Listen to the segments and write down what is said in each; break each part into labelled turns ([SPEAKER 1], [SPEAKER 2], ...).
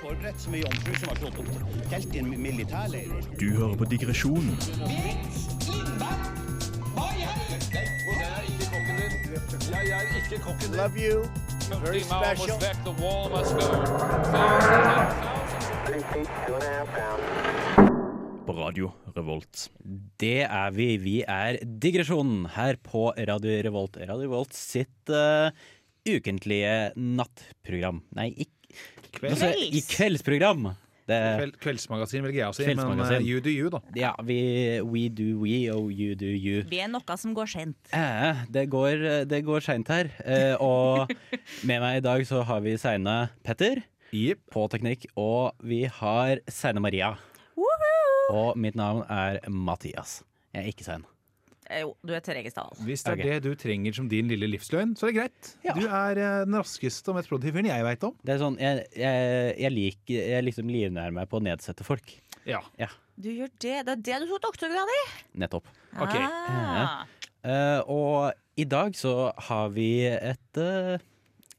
[SPEAKER 1] forberedt som ei jomfru som har slått opp telt i en militærleir.
[SPEAKER 2] Du hører på Digresjonen
[SPEAKER 3] Love you. Very special.
[SPEAKER 2] på Radio Revolt.
[SPEAKER 4] Det er vi. Vi er Digresjonen her på Radio Revolt. Radio Revolt sitt eh, ukentlige nattprogram. Nei, ikke
[SPEAKER 5] Kveld.
[SPEAKER 4] altså, i kveldsprogram. Det,
[SPEAKER 5] Kveld, kveldsmagasin velger jeg å si, men
[SPEAKER 4] Kveldsmagasin.
[SPEAKER 5] eh, you do you, da.
[SPEAKER 4] ja, vi we do we, oh you do you.
[SPEAKER 6] Vi er noe som går sent.
[SPEAKER 4] Eh, det går, det går seint her. Eh, og med meg i dag så har vi Seine Petter
[SPEAKER 5] Jepp.
[SPEAKER 4] på teknikk, og vi har Seine Maria. Og mitt navn er Mathias. Jeg er ikke sein.
[SPEAKER 6] Eh, Jo, du er Therese Dahl.
[SPEAKER 5] Hvis det er
[SPEAKER 4] Ok.
[SPEAKER 5] det du trenger som din lille livsløgn, så er det greit.
[SPEAKER 4] Ja.
[SPEAKER 5] Du er eh, den raskeste og mest produktive fyren jeg veit om.
[SPEAKER 4] Det er sånn, jeg, jeg, jeg liker Jeg liksom livnærer meg på å nedsette folk.
[SPEAKER 5] Ja.
[SPEAKER 6] Du gjør det. Det er det du tok doktorgrad i?
[SPEAKER 4] Nettopp.
[SPEAKER 5] Ok.
[SPEAKER 6] Ah.
[SPEAKER 4] Eh, og i dag så har vi et eh,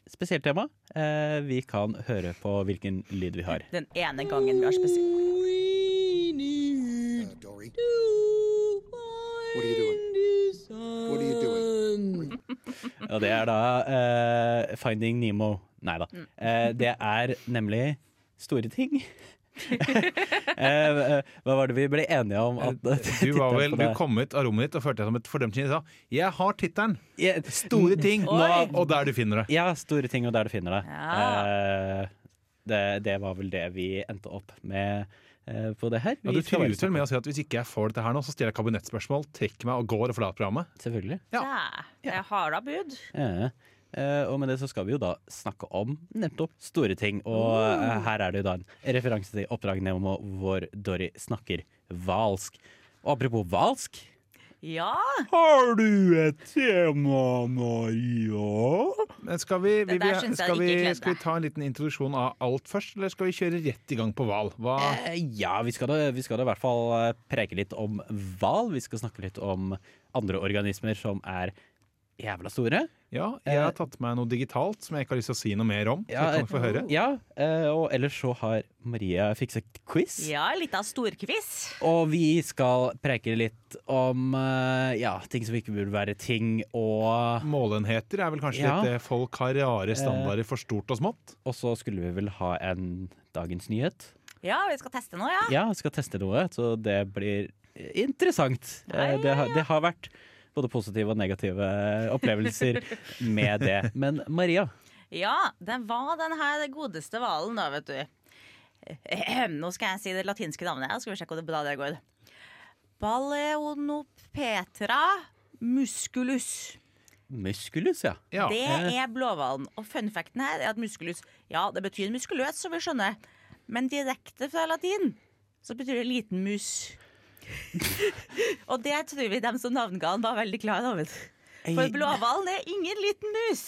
[SPEAKER 4] spesielt tema. Eh, vi kan høre på hvilken lyd vi har.
[SPEAKER 6] Den ene gangen vi har spesielt.
[SPEAKER 7] Dory. What are you doing? What are you doing?
[SPEAKER 4] Og det er da eh, Finding Nemo. Nei da. Eh, det er nemlig store ting. Eh, eh, hva var det vi ble enige om? At,
[SPEAKER 5] Eh, Du var vel,
[SPEAKER 4] tittelen på
[SPEAKER 5] du
[SPEAKER 4] det-
[SPEAKER 5] kom ut av rommet ditt og følte deg som et fordømt kinn. Jeg har tittelen!
[SPEAKER 4] Ja,
[SPEAKER 5] Store ting!
[SPEAKER 6] Oi.
[SPEAKER 5] Og der du finner det.
[SPEAKER 4] Ja, store ting og der du finner det.
[SPEAKER 6] Ja.
[SPEAKER 4] Eh, det, det var vel det vi endte opp med eh, på det her.
[SPEAKER 5] Ja,
[SPEAKER 4] Vi
[SPEAKER 5] du
[SPEAKER 4] skal være
[SPEAKER 5] truet vel med å si at hvis ikke jeg får dette her nå, så stiller jeg kabinettspørsmål, trekker meg og går og forlater programmet.
[SPEAKER 4] Selvfølgelig.
[SPEAKER 5] Ja.
[SPEAKER 6] Ja. Jeg har da bud.
[SPEAKER 4] Ja. Eh, og med det så skal vi jo da snakke om nettopp store ting. Og eh, her er det jo da en referanse til Oppdrag Nemo hvor Dory snakker hvalsk. Og apropos hvalsk
[SPEAKER 6] Ja.
[SPEAKER 4] Har du et tema, Maria?
[SPEAKER 5] Men Skal vi, vi,
[SPEAKER 6] Det der
[SPEAKER 5] vi,
[SPEAKER 6] synes jeg
[SPEAKER 5] skal vi,
[SPEAKER 6] ikke kledde.
[SPEAKER 5] skal vi ta en liten introduksjon av alt først, eller skal vi kjøre rett i gang på hval? Hva
[SPEAKER 4] Eh, ja, vi skal, da, vi skal da i hvert fall eh, preke litt om hval. Vi skal snakke litt om andre organismer som er jævla store.
[SPEAKER 5] Ja, jeg har tatt med meg noe digitalt som jeg ikke har lyst til å si noe mer om. Så jeg kan få høre.
[SPEAKER 4] eh, Ja, eh, og ellers så har Maria fikset quiz.
[SPEAKER 6] ja, litt av storkviss.
[SPEAKER 4] Og vi skal preke litt om eh, ja, ting som ikke burde være ting, og,
[SPEAKER 5] Målenheter er vel kanskje
[SPEAKER 4] Ja. Eh.
[SPEAKER 5] litt det folk har rare standarder for stort og smått.
[SPEAKER 4] og så skulle vi vel ha en dagens nyhet.
[SPEAKER 6] Ja, vi skal teste nå, ja.
[SPEAKER 4] Ja, vi skal teste noe, så det blir interessant. Eh, Det, har- det har vært både positive og negative opplevelser med det. Men Maria,
[SPEAKER 6] Ja, det var den her godeste hvalen, da, vet du. Ehem, Nå skal jeg si det latinske navnet. her, Skal vi sjekke hvor bra det går. Baleonopetra musculus.
[SPEAKER 4] muskulus, ja.
[SPEAKER 5] Ja.
[SPEAKER 6] Det
[SPEAKER 5] Eh.
[SPEAKER 6] er blåhvalen. Og funfacten her er at muskulus Ja, det betyr muskuløs, som vi skjønner, men direkte fra latin så betyr det liten mus. og det tror vi dem som navnga den, var veldig klar over. For blåhvalen er ingen liten mus.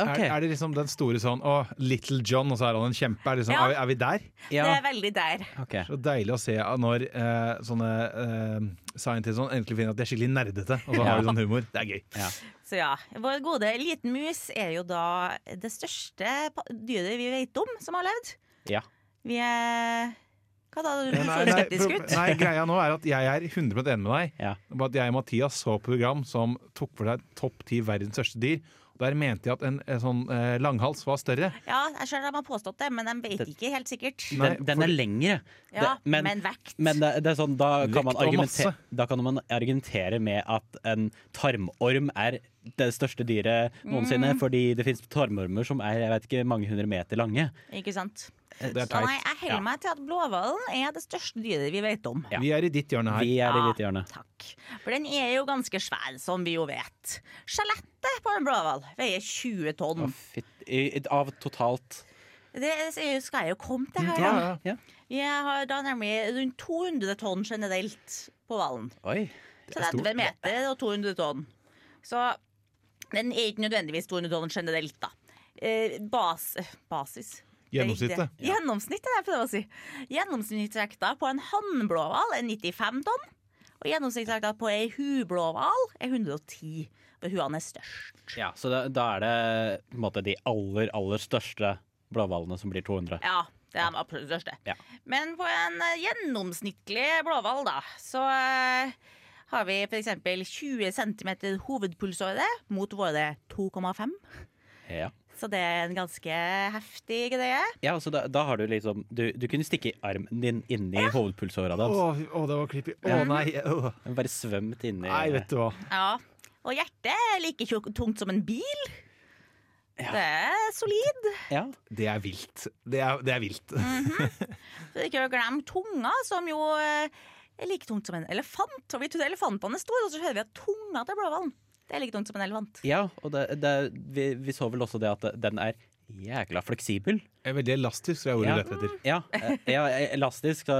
[SPEAKER 4] Ok,
[SPEAKER 5] Er, er det liksom den store sånn Å, Little John, og så er han en kjempe. Er, det liksom,
[SPEAKER 6] Ja.
[SPEAKER 5] er, vi- er vi der?
[SPEAKER 6] Det
[SPEAKER 4] ja,
[SPEAKER 6] er veldig der.
[SPEAKER 4] ok.
[SPEAKER 5] Så deilig å se at når eh, sånne eh, scientists sånn, endelig finner at de er skikkelig nerdete, og så har de sånn humor. Det er gøy.
[SPEAKER 6] Så ja, Vår gode liten mus er jo da det største pa- dyret vi vet om som har levd.
[SPEAKER 4] Ja.
[SPEAKER 6] Vi er Hva da? Du
[SPEAKER 5] Nei,
[SPEAKER 6] så
[SPEAKER 5] nei,
[SPEAKER 6] skeptisk
[SPEAKER 5] pro-
[SPEAKER 6] ut.
[SPEAKER 5] nei, greia nå er at jeg er 100 enig med deg.
[SPEAKER 4] Ja.
[SPEAKER 5] Bare at jeg og Mathias så et program som tok for seg topp ti verdens største dyr. Og Der mente jeg at en, en sånn eh, langhals var større.
[SPEAKER 6] Ja, jeg skjønner de har påstått det, men de vet ikke helt sikkert.
[SPEAKER 5] Nei,
[SPEAKER 4] Den, den er lengre.
[SPEAKER 6] Ja,
[SPEAKER 4] Det- men-
[SPEAKER 6] men vekt.
[SPEAKER 4] Men det, det er sånn, da kan, man
[SPEAKER 5] Vekt og masse.
[SPEAKER 4] argumentere, da kan man argumentere med at en tarmorm er det største dyret
[SPEAKER 6] Mm.
[SPEAKER 4] noensinne, fordi det finnes tarmormer som er jeg vet ikke, mange hundre meter lange.
[SPEAKER 6] Ikke sant?
[SPEAKER 5] Det er
[SPEAKER 6] Så nei,
[SPEAKER 5] teit.
[SPEAKER 6] jeg holder meg til at blåhvalen er det største dyret vi vet om.
[SPEAKER 4] Ja.
[SPEAKER 5] Vi er i ditt hjørne her.
[SPEAKER 4] Vi er i
[SPEAKER 6] Ja,
[SPEAKER 4] hvite hjørnet.
[SPEAKER 6] Takk. For den er jo ganske svær, som vi jo vet. Skjelettet på en blåhval veier 20 tonn.
[SPEAKER 4] Fytt- i- i- Av totalt
[SPEAKER 6] Det er- skal jeg jo komme til her,
[SPEAKER 5] Ja,
[SPEAKER 6] da.
[SPEAKER 5] ja.
[SPEAKER 4] ja.
[SPEAKER 6] Jeg har da nemlig rundt 200 tonn generelt på hvalen.
[SPEAKER 4] Oi.
[SPEAKER 6] 30 meter og 200 tonn. Så den er ikke nødvendigvis 200 tonn generelt, da. Eh, bas, basis. Det er ikke det.
[SPEAKER 5] Gjennomsnittet.
[SPEAKER 6] Gjennomsnittet, er det jeg prøver å si. Gjennomsnittsvekta på en hannblåhval er 95 tonn. Og gjennomsnittsvekta på ei hublåhval er 110. For huene er størst.
[SPEAKER 4] Ja, så da, da er det på en måte de aller, aller største blåhvalene som blir 200.
[SPEAKER 6] Ja, Det er den absolutt største.
[SPEAKER 4] Ja.
[SPEAKER 6] Men på en eh, gjennomsnittlig blåhval, da, så eh, har vi f.eks. 20 cm hovedpulsåre mot våre 2,5.
[SPEAKER 4] Ja.
[SPEAKER 6] Så det er en ganske heftig greie.
[SPEAKER 4] Ja, altså da, da har du liksom Du, du kunne stikke armen din inni
[SPEAKER 5] Å,
[SPEAKER 4] hovedpulsåra hans.
[SPEAKER 5] å, det var creepy. Å nei. Å.
[SPEAKER 4] Bare svømt inni
[SPEAKER 5] Nei, vet du hva.
[SPEAKER 6] Ja. Og hjertet er like tjukk- tungt som en bil. Det er solid.
[SPEAKER 4] Ja.
[SPEAKER 5] Det er vilt. Det er, det er vilt.
[SPEAKER 4] Mm.
[SPEAKER 6] For ikke å glemme tunga, som jo eh, er like tungt som en elefant. Og vi tror elefantene er store, og så hører vi at tunga til blåhvalen Det er like tungt som en elefant.
[SPEAKER 4] ja og det, det, vi, vi så vel også det at den er jækla fleksibel.
[SPEAKER 5] Jeg er veldig elastisk, tror jeg ordet er
[SPEAKER 4] Ja.
[SPEAKER 5] rett etter.
[SPEAKER 4] Ja, eh, ja elastisk. Så,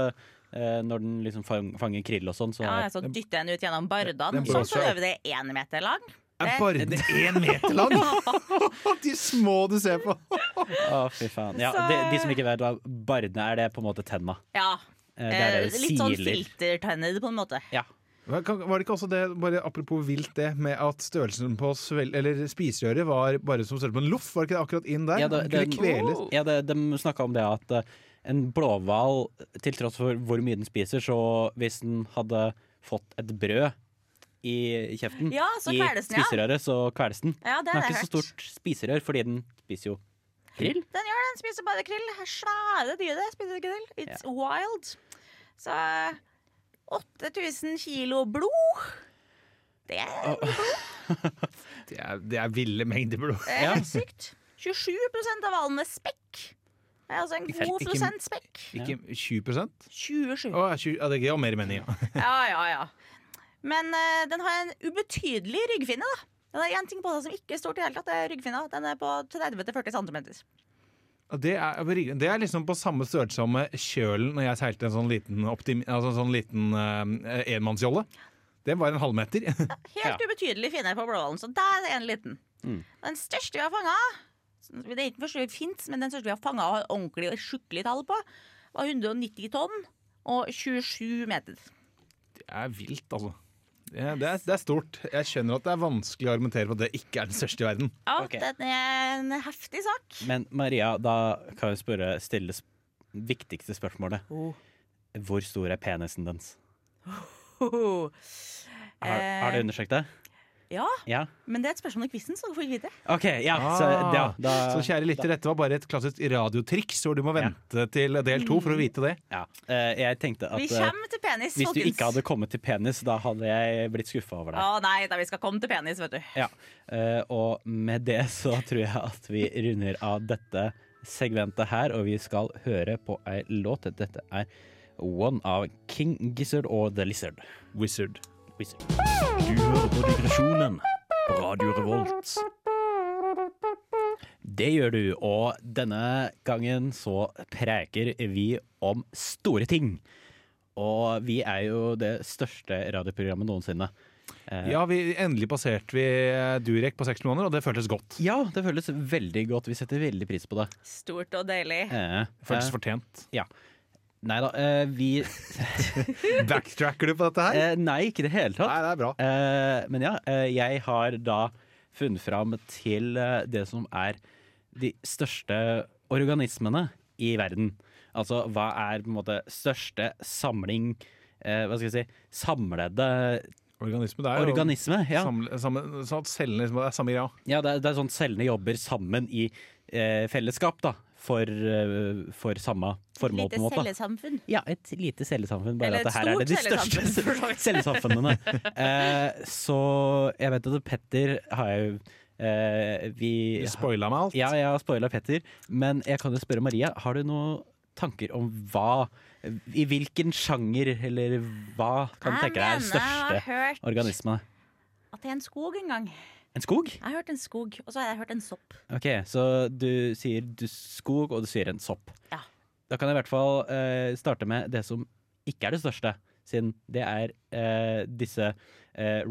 [SPEAKER 4] eh, når den liksom fang- fanger krill og sånn, så
[SPEAKER 6] Ja,
[SPEAKER 4] er
[SPEAKER 6] så dytter jeg den ut gjennom sånn, bardene,
[SPEAKER 5] Den
[SPEAKER 6] som
[SPEAKER 5] bør
[SPEAKER 6] for
[SPEAKER 5] seg.
[SPEAKER 6] øvrig er én meter lang.
[SPEAKER 5] Er barden én meter lang? De små du ser på.
[SPEAKER 4] Å, fy faen. Ja,
[SPEAKER 6] Så-
[SPEAKER 4] de, de som ikke vet hva bardene er, det er på en måte tenna.
[SPEAKER 6] Ja.
[SPEAKER 4] Eh, Det er det
[SPEAKER 6] eh,
[SPEAKER 4] det
[SPEAKER 6] Litt sånn
[SPEAKER 4] siler.
[SPEAKER 6] filtertenner, på en måte.
[SPEAKER 4] Ja.
[SPEAKER 5] Var kan- var det ikke også det, bare apropos vilt det, med at størrelsen på svel, eller spiserøret var bare som størrelsen på en loff? Var det ikke det akkurat inn der?
[SPEAKER 4] Ja, det- Oh.
[SPEAKER 5] Den
[SPEAKER 4] den-
[SPEAKER 5] kunne kveles.
[SPEAKER 4] Ja, det, de snakka om det at eh, en blåhval, til tross for hvor mye den spiser, så hvis den hadde fått et brød i kjeften,
[SPEAKER 6] Ja, så
[SPEAKER 4] i
[SPEAKER 6] kveles den, ja.
[SPEAKER 4] spiserøret, så kveles den.
[SPEAKER 6] Ja, det
[SPEAKER 4] Den
[SPEAKER 6] har
[SPEAKER 4] har
[SPEAKER 6] jeg
[SPEAKER 4] ikke så
[SPEAKER 6] hørt.
[SPEAKER 4] stort spiserør, fordi den spiser jo krill.
[SPEAKER 6] Den gjør det, den spiser bare krill. Svære dyret spiser krill. It's wild. Så 8000 kilo blod. Det er
[SPEAKER 5] Det er, det er ville mengder blod.
[SPEAKER 6] Det er helt sykt. 27 av hvalen er spekk. Det er altså en
[SPEAKER 5] Ikke-
[SPEAKER 6] god
[SPEAKER 5] ikke-
[SPEAKER 6] prosent spekk.
[SPEAKER 5] Ikke 20
[SPEAKER 6] 27.
[SPEAKER 5] Å, ja, 20, ja, det gir jo mer mening, ja.
[SPEAKER 6] Ja, ja, ja. Men eh, den har en ubetydelig ryggfinne, da. Den har én ting på seg som ikke er stort i det hele tatt, det er ryggfinna. Den er på 30-40 cm.
[SPEAKER 5] Ja, Det er, det er liksom på samme størrelse som med kjølen når jeg seilte en sånn liten, optim, altså en sånn liten eh, enmannsjolle. Det var en halvmeter.
[SPEAKER 6] Helt
[SPEAKER 4] Ja. Mm.
[SPEAKER 6] ubetydelig finne på blåhvalen, så der er en liten. Den største vi har fanga, det er ikke den første vi fins, men den største vi har fanga og har ordentlig skikkelig tall på, var 190 tonn og 27 meter.
[SPEAKER 5] Det er vilt, altså. Det er, det, er, det er stort. Jeg skjønner at det er vanskelig å argumentere for at det ikke er den største i verden.
[SPEAKER 6] Ja,
[SPEAKER 4] Ok.
[SPEAKER 6] den er en heftig sak.
[SPEAKER 4] Men Maria, da kan jeg spørre stille sp viktigste spørsmålet.
[SPEAKER 6] Oh.
[SPEAKER 4] Hvor stor er penisen dens?
[SPEAKER 6] Hoho.
[SPEAKER 4] Har, har du
[SPEAKER 6] Eh.
[SPEAKER 4] undersøkt det?
[SPEAKER 6] Ja,
[SPEAKER 4] Ja?
[SPEAKER 6] men det er et spørsmål i quizen, så dere får vite.
[SPEAKER 4] OK, ja. Så, ja da,
[SPEAKER 5] Ah. så kjære lytter, dette var bare et klassisk radiotriks, hvor du må vente til del to for å vite det.
[SPEAKER 4] ja. Eh, Jeg tenkte at
[SPEAKER 6] Vi
[SPEAKER 4] eh,
[SPEAKER 6] kommer til penis,
[SPEAKER 4] hvis du
[SPEAKER 6] folkens.
[SPEAKER 4] ikke hadde kommet til penis, da hadde jeg blitt skuffa over
[SPEAKER 6] Å
[SPEAKER 4] deg.
[SPEAKER 6] nei, da vi skal komme til penis, vet du.
[SPEAKER 4] Ja. Eh, Og med det så tror jeg at vi runder av dette segmentet her, og vi skal høre på ei låt. Dette er One av King Gizzard og The Lizard.
[SPEAKER 5] Wizard.
[SPEAKER 4] Wizard.
[SPEAKER 2] Du hører på digresjonen på Radio Revolt.
[SPEAKER 4] Det gjør du, og denne gangen så preker vi om store ting. Og vi er jo det største radioprogrammet noensinne.
[SPEAKER 5] Ja, vi, endelig passerte vi eh, Durek på seks måneder, og det føltes godt.
[SPEAKER 4] Ja, det føles veldig godt. Vi setter veldig pris på det.
[SPEAKER 6] Stort og deilig.
[SPEAKER 4] Eh,
[SPEAKER 5] Det føltes
[SPEAKER 4] eh,
[SPEAKER 5] fortjent.
[SPEAKER 4] ja. Nei da, eh, vi
[SPEAKER 5] Backtracker du på dette her?
[SPEAKER 4] eh, Nei, ikke i det
[SPEAKER 5] Nei,
[SPEAKER 4] hele tatt.
[SPEAKER 5] det er bra.
[SPEAKER 4] Eh, men ja, eh, jeg har da funnet fram til eh, det som er de største organismene i verden. Altså hva er på en måte største samling eh, Hva skal jeg si samlede
[SPEAKER 5] Organisme, det er jo
[SPEAKER 4] organisme? Ja,
[SPEAKER 5] samle- samme- sånn at cellene liksom, det er samme greia.
[SPEAKER 4] ja det, er, det er sånn cellene jobber sammen i eh, fellesskap, da. For, eh, for samme formål,
[SPEAKER 6] Lite
[SPEAKER 4] på en måte.
[SPEAKER 6] cellesamfunn.
[SPEAKER 4] Ja, et lite cellesamfunn. Bare
[SPEAKER 6] Eller
[SPEAKER 4] at
[SPEAKER 6] et
[SPEAKER 4] det her er det de
[SPEAKER 6] stort
[SPEAKER 4] største
[SPEAKER 6] cellesamfunn, for så vidt.
[SPEAKER 4] cellesamfunnene. Eh, så jeg vet at Petter har jo eh, Vi
[SPEAKER 5] Du spoila meg alt.
[SPEAKER 4] Ja, jeg har spoila Petter. Men jeg kan jo spørre Maria, har du noen tanker om hva I hvilken sjanger, eller hva kan du
[SPEAKER 6] Jeg
[SPEAKER 4] tenke deg er den
[SPEAKER 6] mener jeg
[SPEAKER 4] største
[SPEAKER 6] har hørt
[SPEAKER 4] organismen?
[SPEAKER 6] at det er en skog en gang.
[SPEAKER 4] En skog?
[SPEAKER 6] Jeg har hørt en skog, og så har jeg hørt en sopp.
[SPEAKER 4] Ok, Så du sier du skog, og du sier en sopp.
[SPEAKER 6] Ja.
[SPEAKER 4] Da kan jeg i hvert fall eh, starte med det som ikke er det største, siden det er eh, disse eh,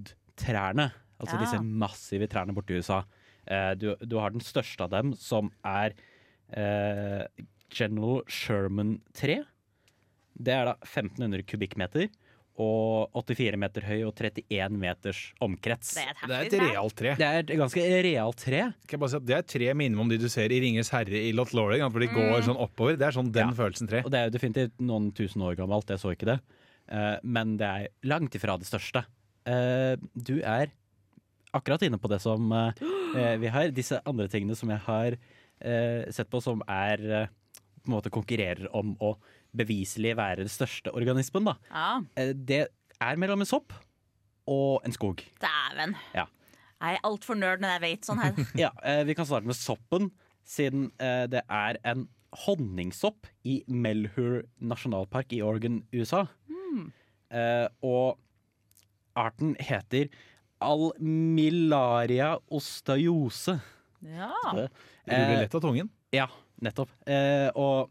[SPEAKER 4] redwood-trærne. Altså
[SPEAKER 6] Ja.
[SPEAKER 4] disse massive trærne borti USA. Eh, du, du har den største av dem, som er eh, General Sherman 3. Det er da 1500 kubikkmeter. og 84 meter høy og 31 meters omkrets.
[SPEAKER 6] Det er et
[SPEAKER 5] Det er
[SPEAKER 6] heftig
[SPEAKER 5] et
[SPEAKER 6] tre.
[SPEAKER 5] realt tre.
[SPEAKER 4] Det er et ganske realt tre.
[SPEAKER 5] Kan jeg bare si at det er tre minimum de du ser i Ringenes herre i Lothlorien. Hvor de går sånn oppover. Det er sånn den følelsen tre.
[SPEAKER 4] Og det er jo definitivt noen tusen år gammelt, jeg så ikke det. Eh, men det er langt ifra det største. Eh, du er akkurat inne på det som eh, eh, vi har. Disse andre tingene som jeg har eh, sett på som er eh, på en måte konkurrerer om å beviselig være den største organismen, da.
[SPEAKER 6] Ja,
[SPEAKER 4] Eh, det er mellom en sopp og en skog.
[SPEAKER 6] dæven.
[SPEAKER 4] Ja.
[SPEAKER 6] Jeg er altfor nerd når jeg vet sånn her.
[SPEAKER 4] Ja, eh, Vi kan starte med soppen, siden eh, det er en honningsopp i Melhur nasjonalpark i Oregon, USA.
[SPEAKER 6] Hmm.
[SPEAKER 4] Eh, og arten heter almillaria osteiose.
[SPEAKER 6] Ja.
[SPEAKER 5] Ruller lett av tungen.
[SPEAKER 4] Eh, Ja, nettopp. Eh, og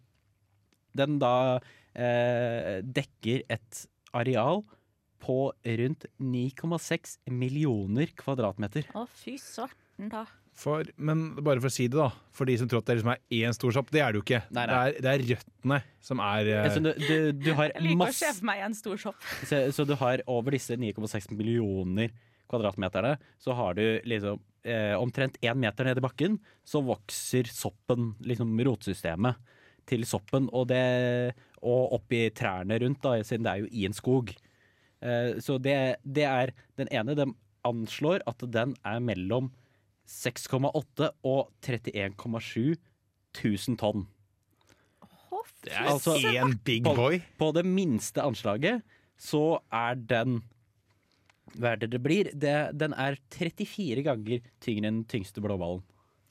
[SPEAKER 4] den da eh, dekker et areal på rundt 9,6 millioner kvadratmeter.
[SPEAKER 6] Å, fy svarten, da.
[SPEAKER 5] For, men bare for å si det, da. For de som tror at det liksom er én stor sopp. Det er det jo ikke.
[SPEAKER 4] Nei, nei.
[SPEAKER 5] Det, er, det er røttene som er eh,
[SPEAKER 4] Altså, du, du, du har
[SPEAKER 6] Jeg liker å
[SPEAKER 4] masse
[SPEAKER 6] se for meg en stor sopp.
[SPEAKER 4] Så, så du har over disse 9,6 millioner kvadratmeterne, så har du liksom eh, omtrent én meter ned i bakken, så vokser soppen, liksom rotsystemet til soppen, og, det, og opp i trærne rundt, da, siden det er jo i en skog. Eh, så det, det er den ene. De anslår at den er mellom 6,8 og 31,7 tusen tonn.
[SPEAKER 6] Å, fy
[SPEAKER 5] er altså én big boy.
[SPEAKER 4] På det minste anslaget så er den Hva er det det blir? Det, den er 34 ganger tyngre enn den tyngste blåballen.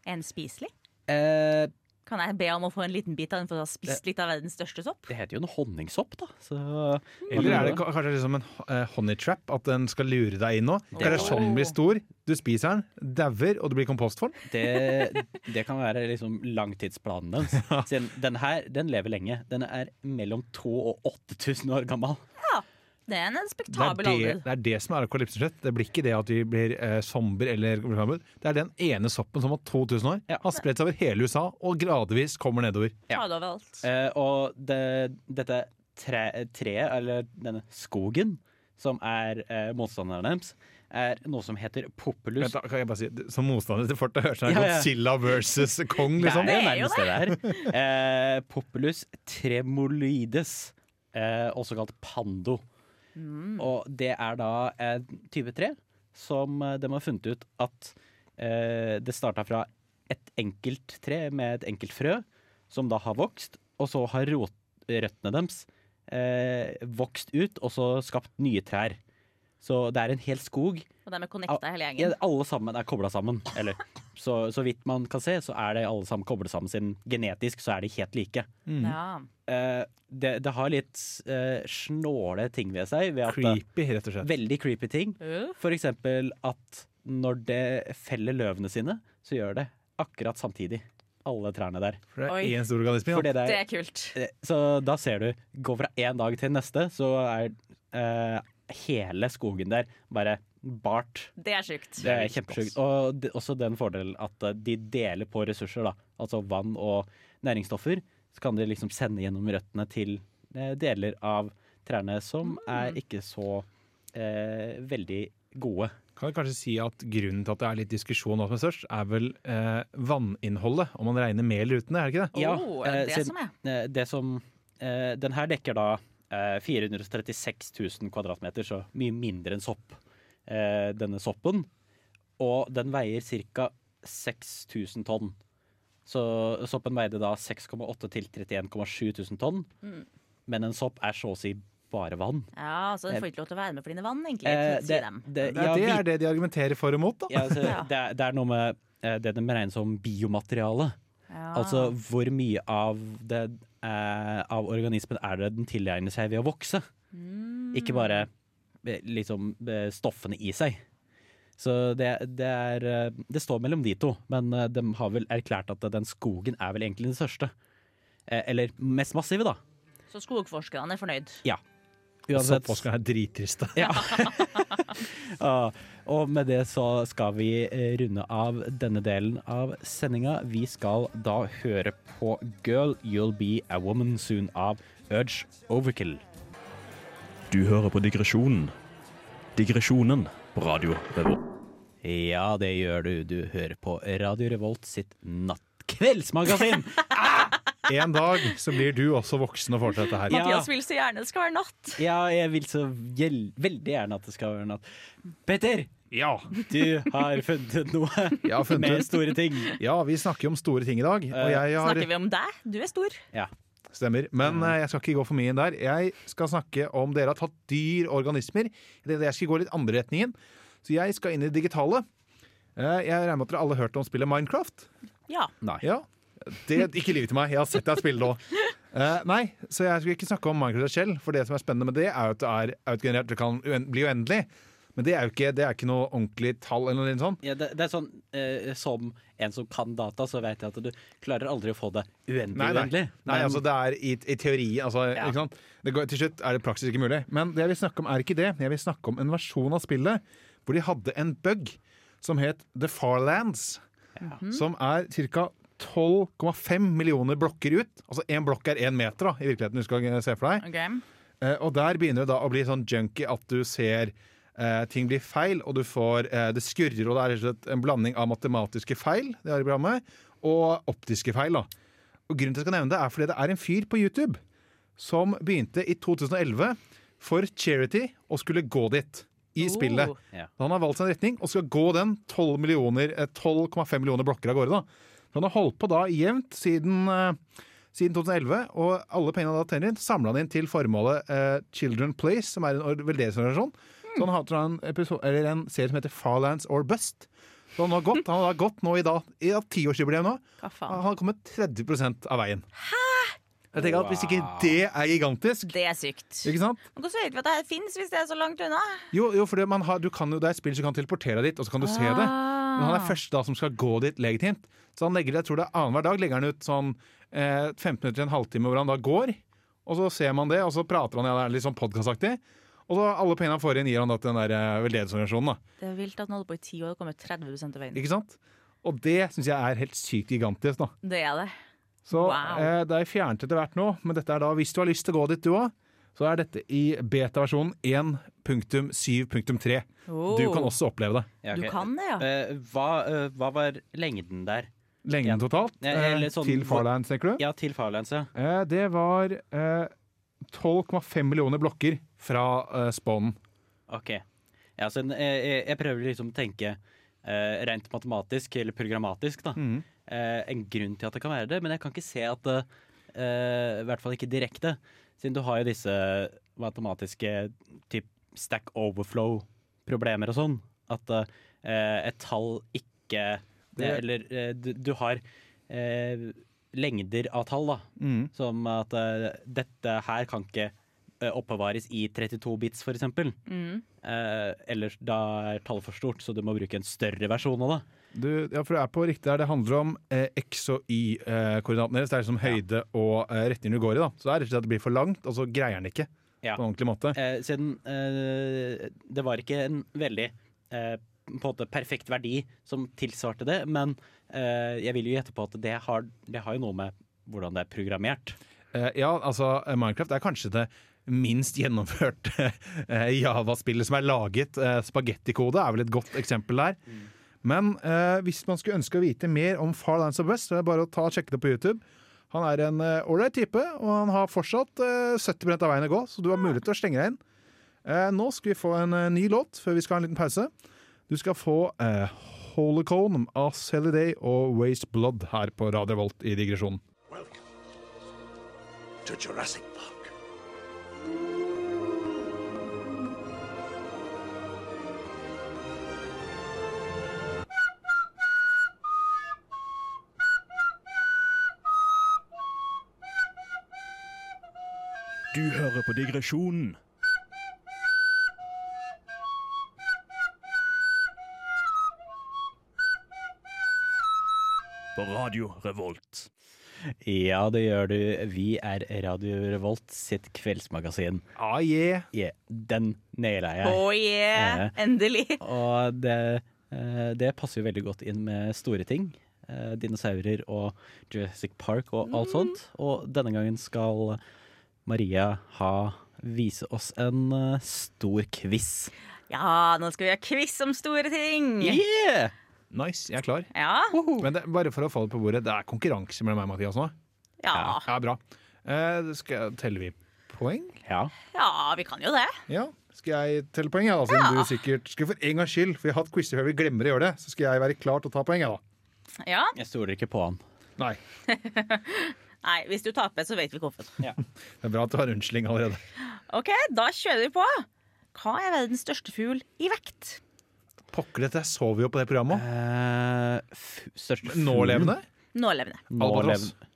[SPEAKER 6] Er den spiselig?
[SPEAKER 4] Eh,
[SPEAKER 6] Kan jeg be om å få en liten bit av den for å ha spist litt av verdens største sopp?
[SPEAKER 4] det heter jo en honningsopp, da. Så,
[SPEAKER 5] Eller er det ka- kanskje liksom en eh, honey trap? At den skal lure deg inn nå? Det er
[SPEAKER 6] kan
[SPEAKER 5] sånn den
[SPEAKER 6] være.
[SPEAKER 5] blir stor. Du spiser den, dauer, og det blir kompost for den.
[SPEAKER 4] det, det kan være liksom langtidsplanen dens. Siden den her den lever lenge. Den er mellom 2000 og 8000 år gammel.
[SPEAKER 6] Det er en
[SPEAKER 5] Det er
[SPEAKER 6] spektabel
[SPEAKER 5] det,
[SPEAKER 6] alder.
[SPEAKER 5] det er det som er akolypseslett. Det blir ikke det at vi blir eh, zombier eller gammel. Det er den ene soppen som har 2000 år, har spredt seg over hele USA og gradvis kommer nedover.
[SPEAKER 6] Ta det overalt.
[SPEAKER 4] Eh, og det, dette tre, treet, eller denne skogen, som er eh, motstanderen deres, er noe som heter populus
[SPEAKER 5] Vent da, kan jeg bare si, Som motstander til Forte høres det ut
[SPEAKER 4] Ja,
[SPEAKER 5] som
[SPEAKER 4] ja.
[SPEAKER 5] sånn Godzilla versus Kong, liksom.
[SPEAKER 4] Det er jo
[SPEAKER 6] Det er jo
[SPEAKER 4] nærmest det det er. Eh, Populus tremoloides, eh, også kalt pando. Og det er da en type tre som eh, de har funnet ut at eh, det starta fra et enkelt tre med et enkelt frø, som da har vokst, og så har rot, røttene deres eh, vokst ut, og så skapt nye trær. Så det er en hel skog
[SPEAKER 6] Og de er connecta hele
[SPEAKER 4] ja,
[SPEAKER 6] gjengen.
[SPEAKER 4] alle sammen er kobla sammen. Eller så, så vidt man kan se, så er det alle sammen koblet sammen siden genetisk så er de helt like.
[SPEAKER 6] Ja.
[SPEAKER 4] Eh, det, det har litt eh, snåle ting ved seg. Ved at
[SPEAKER 5] Creepy, rett og slett.
[SPEAKER 4] Veldig creepy ting.
[SPEAKER 6] Uff.
[SPEAKER 4] For eksempel at når det feller løvene sine, så gjør det akkurat samtidig. Alle trærne der.
[SPEAKER 5] For det
[SPEAKER 6] Oi.
[SPEAKER 5] er én stor organisme.
[SPEAKER 4] For
[SPEAKER 5] Ja.
[SPEAKER 4] det der
[SPEAKER 6] Det er kult.
[SPEAKER 4] eh, så da ser du, gå fra én dag til neste, så er eh, hele skogen der bare bart.
[SPEAKER 6] Det er sjukt.
[SPEAKER 4] Det er kjempesjukt. Og det, også den fordelen at eh, de deler på ressurser, da. Altså vann og næringsstoffer. Så kan de liksom sende gjennom røttene til eh, deler av trærne som er ikke så eh, veldig gode.
[SPEAKER 5] Kan jeg kanskje si at Grunnen til at det er litt diskusjon om hva som er størst, er vel eh, vanninnholdet. Om man regner med eller uten det, er det ikke det?
[SPEAKER 6] Oh, er det
[SPEAKER 4] siden-
[SPEAKER 6] som er?
[SPEAKER 4] eh, det som eh, Den her dekker da eh, 436 000 kvadratmeter, så mye mindre enn sopp. Eh, denne soppen. Og den veier ca. 6000 tonn. Så soppen veide da 6,8 til 31,7 tusen tonn.
[SPEAKER 6] Mm.
[SPEAKER 4] Men en sopp er så å si bare vann.
[SPEAKER 6] Ja, så den får ikke lov til å være med for dine vann, egentlig.
[SPEAKER 4] Eh,
[SPEAKER 6] sier dem.
[SPEAKER 4] det-
[SPEAKER 5] Det er,
[SPEAKER 4] ja,
[SPEAKER 5] det
[SPEAKER 4] vi-
[SPEAKER 5] er det de argumenterer for og mot, da.
[SPEAKER 4] ja, altså,
[SPEAKER 6] Ja.
[SPEAKER 4] det, er, det er noe med eh, det de regner som biomateriale.
[SPEAKER 6] Ja.
[SPEAKER 4] Altså hvor mye av, det, eh, av organismen er det den tilegner seg ved å vokse?
[SPEAKER 6] Mm.
[SPEAKER 4] Ikke bare eh, liksom eh, stoffene i seg. Så det, det er eh, Det står mellom de to, men eh, de har vel erklært at den skogen er vel egentlig den største. Eh, Eller mest massive, da.
[SPEAKER 6] Så skogforskerne er fornøyd.
[SPEAKER 4] Uansett.
[SPEAKER 5] Soppforskerne er drittriste.
[SPEAKER 4] Ja, og med det så skal vi eh, runde av denne delen av sendinga. Vi skal da høre på Girl You'll Be A Woman Soon av Urge Overkill.
[SPEAKER 2] Du hører på digresjonen. Digresjonen på Radio Revolt.
[SPEAKER 4] Ja, det gjør du. Du hører på Radio Revolt sitt nattkveldsmagasin.
[SPEAKER 5] En dag så blir du også voksen og får til dette her.
[SPEAKER 4] Ja.
[SPEAKER 6] Mathias vil så gjerne det skal være natt.
[SPEAKER 4] ja, jeg vil så gjel- veldig gjerne at det skal være natt. Petter,
[SPEAKER 5] Ja.
[SPEAKER 4] du har funnet ut noe
[SPEAKER 5] Jeg har funnet
[SPEAKER 4] med
[SPEAKER 5] ut-
[SPEAKER 4] store ting.
[SPEAKER 5] ja, vi snakker jo om store ting i dag, og jeg har
[SPEAKER 6] Eh, Snakker vi om Mm. deg? Du er stor.
[SPEAKER 4] Ja.
[SPEAKER 5] Stemmer. Men eh, jeg skal ikke gå for mye inn der. Jeg skal snakke om dere har tatt dyr og organismer. Det- Jeg skal gå litt andre retningen. Så jeg skal inn i det digitale. Eh, Jeg regner med at dere alle har hørt om spillet Minecraft?
[SPEAKER 6] Ja.
[SPEAKER 5] Ja. Det, ikke lyv til meg, jeg har sett deg spille nå. Eh, nei, så jeg skulle ikke snakke om Minecraft selv, for det som er spennende med det, er jo at det er autogenerert. Det kan uen- bli uendelig. Men det er jo ikke, det er ikke noe ordentlig tall eller noe sånt.
[SPEAKER 4] Ja, det, det er sånn eh, Som en som kan data, så vet jeg at du klarer aldri å få det uendelig
[SPEAKER 5] Nei, nei.
[SPEAKER 4] uendelig.
[SPEAKER 5] nei
[SPEAKER 4] Men-
[SPEAKER 5] altså det er i, i teorien altså,
[SPEAKER 4] Ja.
[SPEAKER 5] ikke sant? Det går, Til slutt er det praksis ikke mulig. Men det jeg vil snakke om er ikke det. Jeg vil snakke om en versjon av spillet hvor de hadde en bug som het The Farlands. Som er ca. 12,5 millioner blokker ut. Altså én blokk er én meter da, i virkeligheten. du skal eh, se for deg.
[SPEAKER 6] OK.
[SPEAKER 5] Eh, og der begynner det da å bli sånn junky at du ser eh, ting blir feil, og du får eh, Det skurrer, og det er rett og slett en blanding av matematiske feil det er i programmet, og optiske feil. da. Og Grunnen til at jeg skal nevne det, er fordi det er en fyr på YouTube som begynte i 2011 for charity og skulle gå dit i spillet.
[SPEAKER 4] Ja.
[SPEAKER 5] Han har valgt seg en retning og skal gå den 12 millioner, eh, 12,5 millioner blokker av gårde. da. Så han har holdt på da jevnt siden, eh, siden 2011, og alle pengene han da tjener inn, samla han inn til formålet eh, Children Place, som er en or- veldedighetsorganisasjon. Så han har hatt en, episode, eller en serie som heter Farlands or Bust. Så han har gått, han har gått nå i dag, i da tiårsjubileet nå.
[SPEAKER 6] Hva
[SPEAKER 5] Han
[SPEAKER 6] faen.
[SPEAKER 5] har kommet 30 av veien. Hæ?! Jeg tenker at Hvis ikke det er gigantisk
[SPEAKER 6] Det er sykt.
[SPEAKER 5] ikke sant?
[SPEAKER 6] Men Hvordan vet vi at det her fins, hvis det er så langt unna?
[SPEAKER 5] Jo, jo for det, man har, du kan jo, det er et spill som kan teleportere deg dit, og så kan du se det. Men han er
[SPEAKER 6] Ah.
[SPEAKER 5] først da som skal gå dit legitimt. Så han legger det, jeg tror det er annenhver dag legger han ut sånn eh, 15 minutter til en halvtime hvor han da går. Og så ser man det, og så prater han ja, det er litt sånn podkastaktig. Og så alle pengene han får inn, gir han da til den der eh, veldedighetsorganisasjonen. da.
[SPEAKER 6] Det er vilt at den holder på i ti år og kommer 30 av veien.
[SPEAKER 5] Ikke sant? Og det syns jeg er helt sykt gigantisk. da.
[SPEAKER 6] Det er det.
[SPEAKER 5] Så
[SPEAKER 6] Wow.
[SPEAKER 5] eh, det er fjernet etter hvert nå, men dette er da, hvis du har lyst til å gå dit du òg, så er dette i beta-versjonen 1.7.3. Du
[SPEAKER 6] Oh.
[SPEAKER 5] kan også oppleve det.
[SPEAKER 4] Ja,
[SPEAKER 6] Du
[SPEAKER 4] ok.
[SPEAKER 6] kan det, ja.
[SPEAKER 4] Eh, hva, eh, hva var lengden der?
[SPEAKER 5] Lengden
[SPEAKER 4] Ja.
[SPEAKER 5] totalt
[SPEAKER 4] Ja,
[SPEAKER 5] eh,
[SPEAKER 4] eller sånn-
[SPEAKER 5] til Farlands, tenker du?
[SPEAKER 4] Ja, til Farlands, ja.
[SPEAKER 5] Eh, det var eh, 12,5 millioner blokker fra eh, spawnen.
[SPEAKER 4] Ok. Ja, så en, eh, jeg, jeg prøver liksom å tenke eh, rent matematisk, eller programmatisk, da. Eh, en grunn til at det kan være det, men jeg kan ikke se at det eh, I hvert fall ikke direkte, siden du har jo disse matematiske typ stack overflow-problemer og sånn. At eh, et tall ikke
[SPEAKER 5] Det-
[SPEAKER 4] Eller eh, du, du har eh, lengder av tall, da. Som at eh, dette her kan ikke eh, oppbevares i 32 bits, for eksempel. Eh, eller da er tallet for stort, så du må bruke en større versjon av det.
[SPEAKER 5] Du, ja, for du er på riktig der. Det handler om eh, X- og Y-koordinatene deres. Det er liksom høyde og eh, retningen du går i. da. Så det er rett og slett at det blir for langt, og så greier den ikke
[SPEAKER 4] Ja.
[SPEAKER 5] på en ordentlig måte.
[SPEAKER 4] Eh, siden eh, det var ikke en veldig eh, på en måte perfekt verdi som tilsvarte det, men eh, jeg vil jo gjette på at det har, det har jo noe med hvordan det er programmert.
[SPEAKER 5] Eh, ja, altså eh, Minecraft er kanskje det minst gjennomførte eh, Java-spillet som er laget. Eh, Spagettikode er vel et godt eksempel der. Men eh, hvis man skulle ønske å vite mer om Farlands of West, så er det bare å ta og sjekke det på YouTube. Han er en eh, ålreit type, og han har fortsatt eh, 70 av veien å gå, så du har mulighet til å slenge deg inn. Eh, nå skal vi få en eh, ny låt før vi skal ha en liten pause. Du skal få eh, Holocone av Celiday og Waste Blood her på Radio Volt i digresjonen.
[SPEAKER 8] Welcome to Jurassic Park.
[SPEAKER 2] Du hører på digresjonen. På Radio Revolt.
[SPEAKER 4] Ja, det gjør du. Vi er Radio Revolt sitt kveldsmagasin.
[SPEAKER 5] Ah, yeah.
[SPEAKER 4] Yeah, den naila jeg.
[SPEAKER 6] Oh yeah!
[SPEAKER 5] Eh.
[SPEAKER 6] Endelig.
[SPEAKER 4] Og det, eh, det passer jo veldig godt inn med store ting. Eh, Dinosaurer og
[SPEAKER 6] Mm.
[SPEAKER 4] Jurassic Park og alt sånt. Og denne gangen skal Maria ha vise oss en eh, stor quiz.
[SPEAKER 6] Ja, nå skal vi ha quiz om store ting!
[SPEAKER 4] Yeah!
[SPEAKER 5] Nice, jeg er klar.
[SPEAKER 6] Ja.
[SPEAKER 5] Men det, bare for å falle på bordet, det er konkurranse mellom meg og Mathias nå.
[SPEAKER 6] Ja.
[SPEAKER 5] Ja, bra. Eh, skal, teller vi poeng?
[SPEAKER 4] Ja.
[SPEAKER 6] ja, vi kan jo det.
[SPEAKER 5] Ja. Skal jeg telle poeng, ja, da, siden du sikkert skal for en gangs skyld, for vi har hatt quizer før vi glemmer å gjøre det, så skal jeg være klar til å ta poeng, jeg, da.
[SPEAKER 6] Ja.
[SPEAKER 4] Jeg stoler ikke på han.
[SPEAKER 5] Nei.
[SPEAKER 6] Nei, hvis du taper, så vet vi hvorfor.
[SPEAKER 5] Det er bra at du har unnskyldning allerede.
[SPEAKER 6] OK, da kjører vi på. Hva er verdens største fugl i vekt?
[SPEAKER 5] Pokker dette, jeg sov jo på det programmet òg.
[SPEAKER 4] Eh, f- største fuglen-
[SPEAKER 5] Nålevende?
[SPEAKER 6] Nålevende.
[SPEAKER 5] Albatross.
[SPEAKER 4] Nålevende.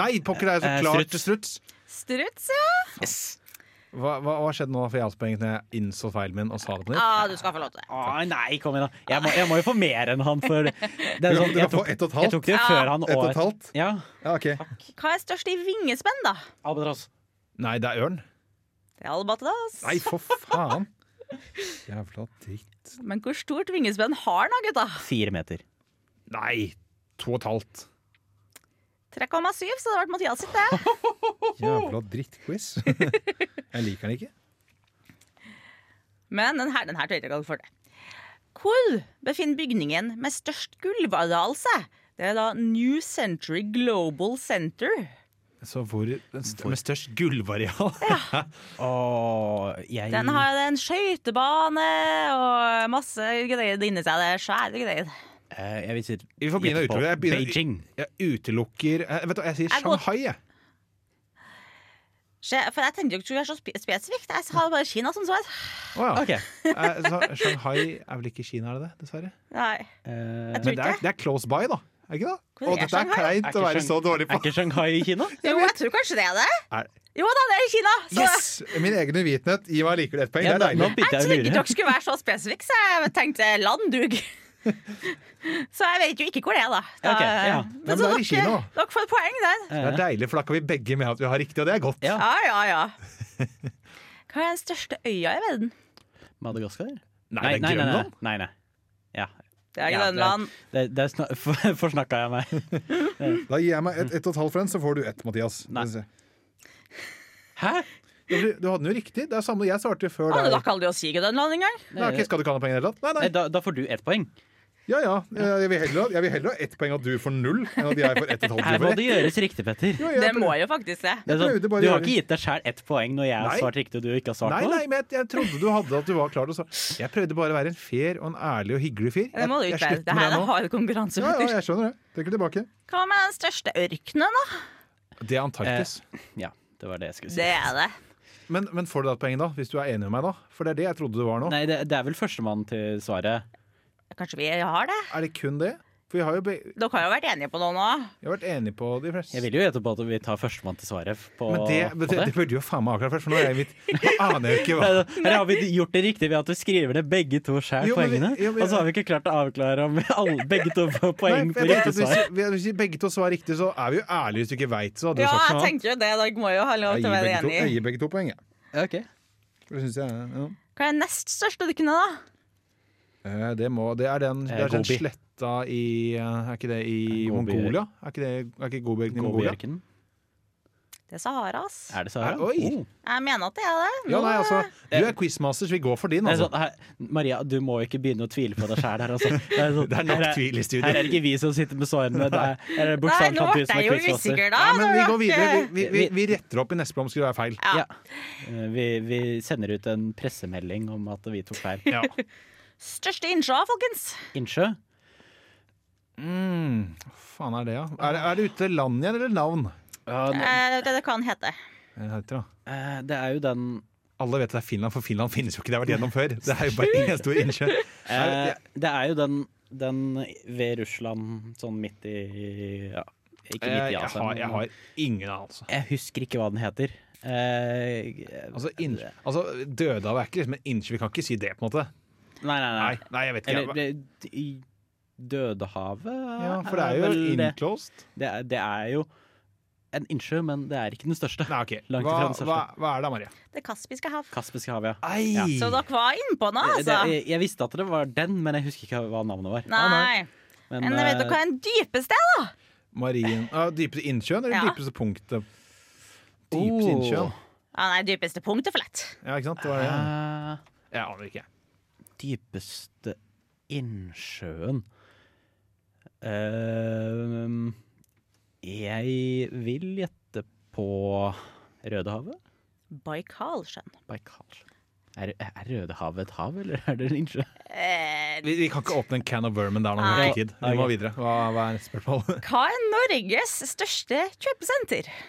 [SPEAKER 5] Nei, pokker, det er
[SPEAKER 4] Eh,
[SPEAKER 5] så klart
[SPEAKER 4] struts.
[SPEAKER 5] til struts.
[SPEAKER 6] Struts, ja.
[SPEAKER 5] Hva, hva, hva skjedde nå da for jeg har poeng når jeg innså feilen min og sa det på nytt?
[SPEAKER 6] ja. Du skal få lov til det.
[SPEAKER 4] Å, nei, kom igjen, da. Jeg må, jeg må jo få mer enn han. For det er
[SPEAKER 5] Du kan-
[SPEAKER 4] sånn,
[SPEAKER 5] du
[SPEAKER 4] jeg,
[SPEAKER 5] kan få
[SPEAKER 4] tok,
[SPEAKER 5] ett og et
[SPEAKER 4] jeg
[SPEAKER 5] halvt.
[SPEAKER 4] tok det jo før han.
[SPEAKER 5] Ett og et halvt?
[SPEAKER 4] Ja,
[SPEAKER 5] Ja, ok.
[SPEAKER 6] Hva er størst i vingespenn, da?
[SPEAKER 4] Albatross.
[SPEAKER 5] Nei, det er ørn.
[SPEAKER 6] Det er albatross.
[SPEAKER 5] Nei, for faen! Jævla dritt.
[SPEAKER 6] Men hvor stort vingespenn har den, da, gutta?
[SPEAKER 4] Fire meter.
[SPEAKER 5] Nei, to og et halvt.
[SPEAKER 6] 3,7, så det hadde vært Mathias sitt, det.
[SPEAKER 5] Jævla drittquiz. jeg liker den ikke.
[SPEAKER 6] Men den her, den her tør jeg ikke å kalle for det. Hvor befinner bygningen med størst gulvareal seg? Det er da New Century Global Center.
[SPEAKER 5] Så hvor den st Med størst gulvareal?
[SPEAKER 4] Å, jeg
[SPEAKER 6] Den har en skøytebane og masse greier inni seg. Det er svære greier.
[SPEAKER 4] Eh, Jeg vil si
[SPEAKER 5] Vi får begynne å
[SPEAKER 4] gjette på
[SPEAKER 5] utelukke. Jeg begynner-
[SPEAKER 4] Beijing.
[SPEAKER 5] Jeg utelukker eh, Vet du, hva, jeg sier
[SPEAKER 6] Jeg går-
[SPEAKER 5] Shanghai, jeg.
[SPEAKER 6] Skje- For jeg tenkte jo ikke det skulle være så spe- spesifikt. Jeg har bare Kina som svar.
[SPEAKER 5] Å ja.
[SPEAKER 4] Ok.
[SPEAKER 5] Eh, så Shanghai er vel ikke Kina, er det det? Dessverre.
[SPEAKER 6] Nei,
[SPEAKER 4] Eh,
[SPEAKER 6] jeg
[SPEAKER 5] Men
[SPEAKER 6] tror
[SPEAKER 5] det er,
[SPEAKER 6] ikke det.
[SPEAKER 5] det er close by, da. Er det ikke det?
[SPEAKER 6] Hvor
[SPEAKER 5] Og
[SPEAKER 6] er
[SPEAKER 5] dette er
[SPEAKER 6] Shanghai?
[SPEAKER 5] kleint å være så dårlig
[SPEAKER 4] Er
[SPEAKER 5] på.
[SPEAKER 4] ikke Shanghai i Kina?
[SPEAKER 6] Jo, jeg tror kanskje det er det.
[SPEAKER 5] Er-
[SPEAKER 6] Jo da, det er Kina. Så
[SPEAKER 5] Yes! Min egen uvitenhet gir meg likevel ett poeng.
[SPEAKER 4] Ja,
[SPEAKER 5] Det er
[SPEAKER 4] da- nå
[SPEAKER 5] deilig.
[SPEAKER 4] begynte jeg
[SPEAKER 6] Jeg
[SPEAKER 4] å
[SPEAKER 6] trodde ikke
[SPEAKER 4] lure.
[SPEAKER 6] dere skulle være så spesifikke, så jeg tenkte landdug. Så jeg vet jo ikke hvor det er, da. da
[SPEAKER 4] Ok, ja.
[SPEAKER 5] Men
[SPEAKER 6] så
[SPEAKER 5] det er i Kina,
[SPEAKER 6] dere,
[SPEAKER 5] da.
[SPEAKER 6] dere får poeng der.
[SPEAKER 5] Det er deilig, for da kan vi begge med at vi har riktig, og det er godt.
[SPEAKER 4] Ja.
[SPEAKER 6] Ja, ja, ja. Hva er den største øya i verden?
[SPEAKER 4] Madagaskar?
[SPEAKER 5] Nei, det
[SPEAKER 4] nei,
[SPEAKER 5] er
[SPEAKER 4] nei,
[SPEAKER 5] Grønland.
[SPEAKER 4] nei, nei. Ja.
[SPEAKER 6] Det
[SPEAKER 4] Ja,
[SPEAKER 6] er
[SPEAKER 4] det-
[SPEAKER 6] Grønland.
[SPEAKER 4] Der, der sna for- forsnakka jeg meg.
[SPEAKER 5] Da gir jeg meg ett et og et halvt for den, så får du ett, Mathias. Skal
[SPEAKER 4] Nei.
[SPEAKER 5] vi se.
[SPEAKER 4] Hæ?
[SPEAKER 5] Ja, for Du, du hadde den jo riktig. Det er samme jeg svarte før
[SPEAKER 6] Å, du
[SPEAKER 5] deg.
[SPEAKER 6] rakk aldri å si Grønland engang.
[SPEAKER 5] Nei, ok, skal du ikke ha noen poeng i det hele tatt? Nei,
[SPEAKER 4] Nei,
[SPEAKER 5] nei.
[SPEAKER 4] da, da får du ett poeng.
[SPEAKER 5] Ja, ja. Jeg vil heller, jeg vil heller ha ett poeng at du får null, enn at jeg får ett og et halvt.
[SPEAKER 4] Her
[SPEAKER 5] du
[SPEAKER 4] må
[SPEAKER 5] får
[SPEAKER 4] det
[SPEAKER 5] ett.
[SPEAKER 4] gjøres riktig, Petter.
[SPEAKER 5] Jo, jeg
[SPEAKER 6] Det
[SPEAKER 5] prøv-
[SPEAKER 6] må jo faktisk det.
[SPEAKER 4] Det er sånn,
[SPEAKER 5] prøvde bare å
[SPEAKER 4] du har
[SPEAKER 5] gjøre-
[SPEAKER 4] ikke gitt deg sjæl ett poeng når jeg har
[SPEAKER 5] Nei.
[SPEAKER 4] svart riktig og du ikke har svart
[SPEAKER 5] Nei,
[SPEAKER 4] noe.
[SPEAKER 5] nei, men jeg, jeg trodde du hadde at du var klar til å svare. Jeg prøvde bare å være en fair og en ærlig og hyggelig fyr.
[SPEAKER 6] Det må
[SPEAKER 5] Jeg-
[SPEAKER 6] du
[SPEAKER 5] jeg
[SPEAKER 6] ikke være.
[SPEAKER 5] slutter
[SPEAKER 6] Det
[SPEAKER 5] med
[SPEAKER 6] her er
[SPEAKER 5] nå.
[SPEAKER 6] hard konkurranse.
[SPEAKER 5] Ja, ja,
[SPEAKER 6] faktisk.
[SPEAKER 5] jeg skjønner det. Tenker tilbake.
[SPEAKER 6] Hva med den største ørkenen, da?
[SPEAKER 5] Det er Antarktis.
[SPEAKER 4] Ja, det var det jeg skulle si.
[SPEAKER 6] Det er det.
[SPEAKER 5] Men, men får du da et poeng, da? Hvis du er enig med meg, da? For det er det jeg trodde du var nå.
[SPEAKER 4] Nei, det, det er vel førstemann til svaret.
[SPEAKER 6] Kanskje vi har det?
[SPEAKER 5] Er det kun det? For vi har jo be vi
[SPEAKER 6] Dere har jo vært enige på noe nå.
[SPEAKER 5] har vært enige på de fleste.
[SPEAKER 4] Jeg vil jo gjette på at vi tar førstemann til svaret på,
[SPEAKER 5] Men det, men
[SPEAKER 4] på
[SPEAKER 5] det,
[SPEAKER 4] det.
[SPEAKER 5] det burde jo faen meg avklare først, for nå er jeg mitt Nå aner jeg jo ikke hva
[SPEAKER 4] Nei, Her har vi gjort det riktig ved at vi skriver ned begge to sjæl,
[SPEAKER 5] Jo, men vi-
[SPEAKER 4] poengene.
[SPEAKER 5] jo, men-
[SPEAKER 4] Og så har vi ikke klart å avklare om alle, begge to får poeng
[SPEAKER 5] Nei, for
[SPEAKER 4] på
[SPEAKER 5] jeg tenkte
[SPEAKER 4] riktig
[SPEAKER 5] at
[SPEAKER 4] svar.
[SPEAKER 5] hvis, vi- hvis vi begge to svarer riktig, så er vi jo ærlige hvis du ikke veit. Så hadde du
[SPEAKER 6] Ja,
[SPEAKER 5] sagt
[SPEAKER 6] jeg
[SPEAKER 5] noe annet.
[SPEAKER 6] tenker jo det. Dere må jo ha lov
[SPEAKER 5] Jeg
[SPEAKER 6] til
[SPEAKER 5] gir
[SPEAKER 6] å være
[SPEAKER 5] begge to- jeg
[SPEAKER 6] enige.
[SPEAKER 5] gir begge to poeng, jeg.
[SPEAKER 4] Ok.
[SPEAKER 5] Det synes jeg. Ja.
[SPEAKER 6] Hva er den nest største ørkenen, da?
[SPEAKER 5] Eh, Det, må, det er den, det
[SPEAKER 4] Eh,
[SPEAKER 5] er den
[SPEAKER 4] Gobi.
[SPEAKER 5] sletta i eh, Er ikke det i
[SPEAKER 4] Gobi-
[SPEAKER 5] Mongolia? Er ikke, det, er ikke Gobiørken i Mongolia?
[SPEAKER 4] Gobiørkenen.
[SPEAKER 6] Det er Sahara, ass.
[SPEAKER 4] Er det Sahara?
[SPEAKER 5] Eh, oi.
[SPEAKER 4] Oh.
[SPEAKER 6] Jeg mener at det er det.
[SPEAKER 5] Ja, nei, altså, du er quizmaster, så vi går for din.
[SPEAKER 4] Det er
[SPEAKER 5] Altså.
[SPEAKER 4] sånn, her, Maria, du må ikke begynne å tvile på deg sjæl her. Altså. Det, er sånn,
[SPEAKER 5] Det er nok
[SPEAKER 4] her
[SPEAKER 5] tvil i studio.
[SPEAKER 4] Her er det ikke vi som sitter med svarene. Det er, her er det
[SPEAKER 6] Nei,
[SPEAKER 4] bokstavelig
[SPEAKER 6] nå
[SPEAKER 4] talt
[SPEAKER 6] ble
[SPEAKER 4] du som
[SPEAKER 6] jeg
[SPEAKER 4] er
[SPEAKER 6] jo
[SPEAKER 4] quizmaster.
[SPEAKER 6] usikker, da.
[SPEAKER 5] Ja, men vi
[SPEAKER 6] Ah, Det var
[SPEAKER 5] går videre.
[SPEAKER 6] ikke-
[SPEAKER 5] Vi, vi, vi, vi retter opp i neste blom, skulle det være feil.
[SPEAKER 4] Ja. Eh, Vi, vi sender ut en pressemelding om at vi tok feil.
[SPEAKER 5] Ja.
[SPEAKER 6] Største innsjø, folkens.
[SPEAKER 4] Innsjø?
[SPEAKER 5] Mm, hva faen er det, ja? Er, det- er det ute land igjen, eller navn?
[SPEAKER 6] Eh, Det det kan hete.
[SPEAKER 5] Jeg heter, da.
[SPEAKER 4] Eh, Det er jo den
[SPEAKER 5] Alle vet at det er Finland, for Finland finnes jo ikke. Det har vært gjennom før. Det er jo bare en stor innsjø.
[SPEAKER 4] eh, Det er jo den, den ved Russland, sånn midt i ja, Ikke midt
[SPEAKER 5] Eh, Jeg, jeg,
[SPEAKER 4] i altså. Asia.
[SPEAKER 5] har, jeg
[SPEAKER 4] men-
[SPEAKER 5] har ingen anelse.
[SPEAKER 4] Jeg husker ikke hva den heter. Eh,
[SPEAKER 5] Altså, innsjø- altså Dødehavet er ikke liksom en innsjø. Vi kan ikke si det, på en måte.
[SPEAKER 4] nei, nei, nei.
[SPEAKER 5] Nei, nei jeg vet
[SPEAKER 4] Eller
[SPEAKER 5] ikke.
[SPEAKER 4] det, i Dødehavet
[SPEAKER 5] Ja, for det er jo
[SPEAKER 4] vel det.
[SPEAKER 5] inclosed.
[SPEAKER 4] Det er, det er jo en innsjø, men det er ikke den største.
[SPEAKER 5] Nei, ok.
[SPEAKER 4] Langt
[SPEAKER 5] Hva,
[SPEAKER 4] ifra den største.
[SPEAKER 5] hva, hva er det, Maria?
[SPEAKER 6] Det kaspiske hav.
[SPEAKER 4] Kaspiske hav, ja.
[SPEAKER 5] Ei!
[SPEAKER 4] Ja.
[SPEAKER 6] Så dere var innpå nå,
[SPEAKER 4] Det, det,
[SPEAKER 6] altså.
[SPEAKER 4] jeg, jeg visste at det var den, men jeg husker ikke hva navnet var.
[SPEAKER 6] Nei.
[SPEAKER 4] Men,
[SPEAKER 6] Men vet dere hva
[SPEAKER 4] eh,
[SPEAKER 6] den dypeste er, da?
[SPEAKER 5] Marien ah, Dypeste innsjøen eller
[SPEAKER 6] Ja.
[SPEAKER 4] Oh.
[SPEAKER 5] dypeste punktet? Dypeste innsjøen.
[SPEAKER 6] Ah, nei, dypeste punktet for lett.
[SPEAKER 5] Ja, ikke sant? Det var, det.
[SPEAKER 4] Eh,
[SPEAKER 5] jeg aner ikke.
[SPEAKER 4] dypeste innsjøen Eh, Jeg vil gjette på Rødehavet.
[SPEAKER 6] Baikalsjøen.
[SPEAKER 4] Baikal. Er, er Rødehavet et hav, eller er det en innsjø?
[SPEAKER 6] Eh,
[SPEAKER 5] Vi, vi kan ikke åpne en can of vermin der nå.
[SPEAKER 6] Nei.
[SPEAKER 5] Nei. Tid. Vi må videre. Hva, hva er spørsmålet?
[SPEAKER 6] hva er Norges største kjøpesenter?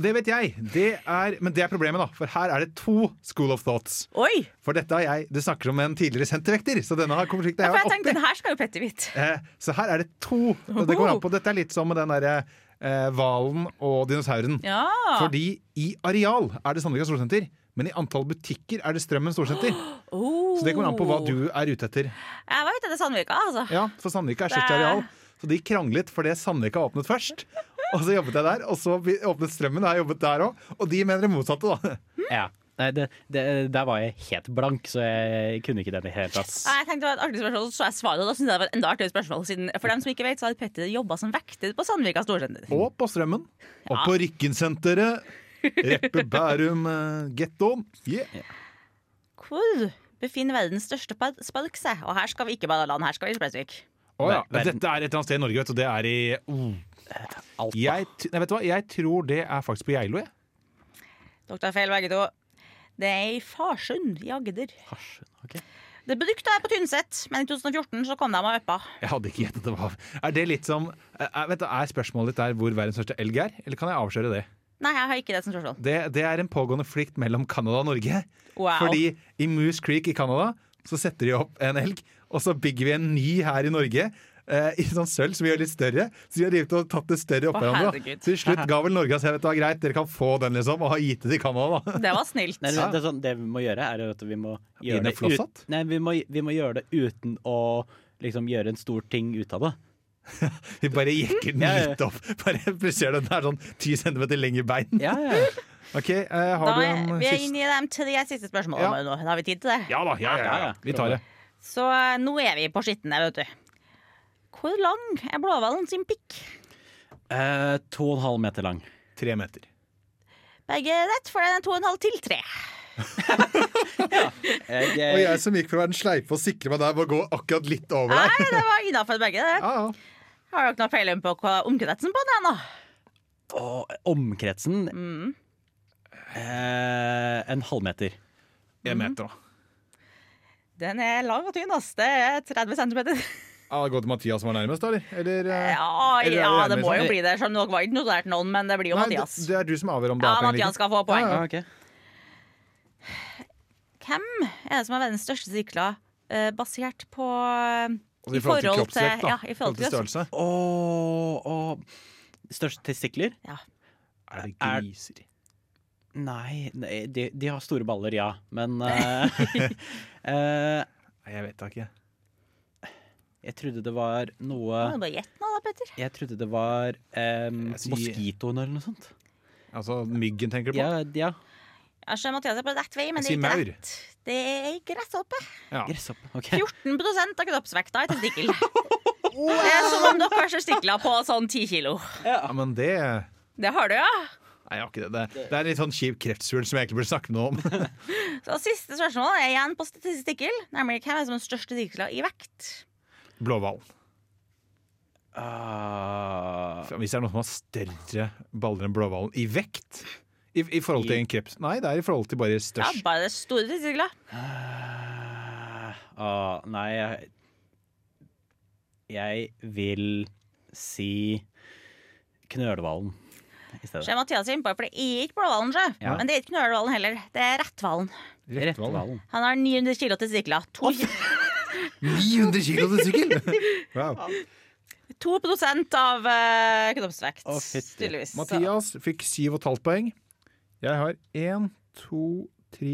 [SPEAKER 5] Det vet jeg. Det er, men det er problemet, da. For her er det to school of thoughts.
[SPEAKER 6] Oi!
[SPEAKER 5] For dette har jeg, Du snakker om en tidligere sentervekter, så denne har konflikten
[SPEAKER 6] Ja,
[SPEAKER 5] jeg har
[SPEAKER 6] for jeg
[SPEAKER 5] vært
[SPEAKER 6] tenkte,
[SPEAKER 5] oppi.
[SPEAKER 6] den her skal jo Petter vite.
[SPEAKER 5] Eh, Så her er det to. Og det går an på, Dette er litt som med den derre eh, hvalen og dinosauren.
[SPEAKER 6] Ja.
[SPEAKER 5] Fordi i areal er det Sandvika storsenter, men i antall butikker er det Strømmen storsenter.
[SPEAKER 6] Oh.
[SPEAKER 5] Så det kommer an på hva du er ute etter.
[SPEAKER 6] Jeg var ute etter Sandvika, altså.
[SPEAKER 5] Ja, For Sandvika er størst
[SPEAKER 6] Det-
[SPEAKER 5] areal. Så de kranglet fordi Sandvika åpnet først. Og så jobbet jeg der, og så vi- åpnet Strømmen, og jeg jobbet der òg. Og de mener det motsatte, da.
[SPEAKER 4] Ja. Nei, det, det, der var jeg helt blank, så jeg kunne ikke den i det hele tatt.
[SPEAKER 6] Nei, Jeg tenkte det var et artig spørsmål, så så jeg svaret, og da synes jeg det var et enda artigere spørsmål. Siden, for dem som ikke vet, så har Petter jobbet som vekter på Sandvika Storsenter.
[SPEAKER 5] Og på Strømmen. Og på Rykkensenteret. Reppe Bærum eh, gettoen. Yeah.
[SPEAKER 6] Hvor befinner verdens største par- spark seg? Og her skal vi ikke bare land, her skal vi i Spesvik.
[SPEAKER 5] Å ja.
[SPEAKER 4] Ver- verden.
[SPEAKER 5] Dette er et eller annet sted i Norge, vet du. og Det er i oh.
[SPEAKER 4] Alta.
[SPEAKER 5] jeg, t- nei, vet du hva? jeg tror det er faktisk på Geilo, jeg.
[SPEAKER 6] Dere tar feil begge to. Det er i Farsund i Agder.
[SPEAKER 4] Hasj, ok.
[SPEAKER 6] Det brukte jeg på Tynset, men i 2014 så kom de og uppa.
[SPEAKER 5] Jeg hadde ikke gjettet det var Er det litt som er, vet du, er spørsmålet ditt der hvor verdens største elg er, eller kan jeg avsløre det?
[SPEAKER 6] Nei, jeg har ikke det som spørsmål.
[SPEAKER 5] Det, det er en pågående flikt mellom Canada og Norge.
[SPEAKER 6] Wow.
[SPEAKER 5] Fordi i Moose Creek i Canada så setter de opp en elg, og så bygger vi en ny her i Norge. eh, I sånn sølv som vi gjør litt større. Så de har drevet og tatt det større opp
[SPEAKER 6] Å,
[SPEAKER 5] hverandre. da.
[SPEAKER 6] herregud.
[SPEAKER 5] Til slutt ga vel Norge og sa vet du hva, greit, dere kan få den, liksom, og har gitt det til Canada. da.
[SPEAKER 6] Det var snilt.
[SPEAKER 4] Nei, det, det, er sånn, det vi må gjøre, er at vi må
[SPEAKER 5] Gi
[SPEAKER 4] gjøre
[SPEAKER 5] den
[SPEAKER 4] det,
[SPEAKER 5] en flosshatt?
[SPEAKER 4] nei, vi må, vi må gjøre det uten å liksom, gjøre en stor ting ut av det.
[SPEAKER 5] Vi bare jekker den
[SPEAKER 4] Ja, ja.
[SPEAKER 5] litt opp. Bare plusserer den der sånn 10 cm lengre bein.
[SPEAKER 4] Ja, ja.
[SPEAKER 5] Ok, eh, har
[SPEAKER 6] Da
[SPEAKER 5] du
[SPEAKER 6] er,
[SPEAKER 5] en
[SPEAKER 6] vi er
[SPEAKER 5] siste
[SPEAKER 6] inne i de tre siste spørsmålene
[SPEAKER 5] Ja.
[SPEAKER 6] nå. Har vi tid til det?
[SPEAKER 5] Ja da, ja, ja, ja.
[SPEAKER 4] Ja, ja.
[SPEAKER 5] Vi tar det.
[SPEAKER 6] Så eh, nå er vi på skitten her, vet du. Hvor lang er blåhvalen sin pikk?
[SPEAKER 4] Eh, to og en halv meter lang.
[SPEAKER 5] Tre meter.
[SPEAKER 6] Begge rett, for den er to og en halv til tre.
[SPEAKER 4] Jeg,
[SPEAKER 5] Og jeg som gikk for å være den sleipe og sikre meg der, må gå akkurat litt over deg.
[SPEAKER 6] Nei, det var innafor begge. Det.
[SPEAKER 5] Ja, ja.
[SPEAKER 6] Har dere noe peiling på hva omkretsen på den er nå?
[SPEAKER 4] og omkretsen eh, En halvmeter.
[SPEAKER 5] En meter, da.
[SPEAKER 6] Den er lang og tynn, ass. Det er 30 cm.
[SPEAKER 5] Ja, gå til Mathias som var nærmest, da, eller? eller eh,
[SPEAKER 6] Ja,
[SPEAKER 5] Eller er det
[SPEAKER 6] ja, det
[SPEAKER 5] nærmere
[SPEAKER 6] må jo
[SPEAKER 5] sånn?
[SPEAKER 6] bli det. Selv om dere var ikke notert noen, men det blir jo
[SPEAKER 5] nei, det,
[SPEAKER 6] Mathias.
[SPEAKER 5] det er du som avgjør om det er
[SPEAKER 6] Ja,
[SPEAKER 5] poeng eller
[SPEAKER 6] Mathias
[SPEAKER 5] ikke.
[SPEAKER 6] skal få poeng.
[SPEAKER 5] Ja,
[SPEAKER 4] Ah,
[SPEAKER 5] ja.
[SPEAKER 6] Hvem er det som er verdens største sirkler eh, basert på eh,
[SPEAKER 5] Altså, I forhold til kroppsvekt, da.
[SPEAKER 6] ja, i forhold til kroppsvekt.
[SPEAKER 5] størrelse.
[SPEAKER 4] Og, og største testikler?
[SPEAKER 5] Er det
[SPEAKER 4] Er-
[SPEAKER 5] griser?
[SPEAKER 4] Nei, nei de, de har store baller, ja. Men eh, eh,
[SPEAKER 5] Nei, jeg vet da ikke.
[SPEAKER 4] jeg trodde det var noe
[SPEAKER 6] Må du bare gjette nå, da, Petter.
[SPEAKER 4] Jeg trodde det var eh,
[SPEAKER 5] Jeg sier-
[SPEAKER 4] moskitoen eller noe sånt.
[SPEAKER 5] Altså myggen, tenker du på?
[SPEAKER 4] Ja, ja.
[SPEAKER 6] Jeg ser Mathias er på rett vei, men det
[SPEAKER 5] Jeg sier
[SPEAKER 6] er ikke
[SPEAKER 5] maur.
[SPEAKER 6] rett. Det er ikke rett oppe.
[SPEAKER 5] Ja.
[SPEAKER 4] Gresshoppe. ok.
[SPEAKER 6] 14 av kroppsvekta er testikkel. Det er som om dere har testikler på sånn 10 kilo.
[SPEAKER 5] ja, men det Nei,
[SPEAKER 6] Det har du, ja.
[SPEAKER 5] jeg har ikke det. Det, det er en litt sånn kjip kreftsvulst som jeg egentlig burde snakke med noe om.
[SPEAKER 6] Så siste spørsmål er igjen på testikkel, nemlig hvem er det som er den største testikler i vekt?
[SPEAKER 5] Blåhvalen.
[SPEAKER 4] Ah,
[SPEAKER 5] Hvis det er noen som har større baller enn blåhvalen i vekt i, I forhold til en kreps Nei, det er i forhold til bare
[SPEAKER 6] Ja,
[SPEAKER 5] størst.
[SPEAKER 6] bare store testikler.
[SPEAKER 4] ah, nei, jeg Jeg vil si knølhvalen i
[SPEAKER 6] Så
[SPEAKER 4] stedet.
[SPEAKER 6] er Mathias innpå, for det er ikke blåhvalen, sjø.
[SPEAKER 4] Ja.
[SPEAKER 6] Men det er ikke knølhvalen heller. Det er retthvalen.
[SPEAKER 5] Retthvalen.
[SPEAKER 4] Retthvalen.
[SPEAKER 6] Han har 900 kilo testikler. To ki-
[SPEAKER 5] 900 kilo til sykkel! Wow.
[SPEAKER 6] 2 av eh, kroppsvekt,
[SPEAKER 4] Å, fytti.
[SPEAKER 6] tydeligvis. Så-
[SPEAKER 5] Mathias fikk 7,5 poeng. Jeg har 1, 2, 3,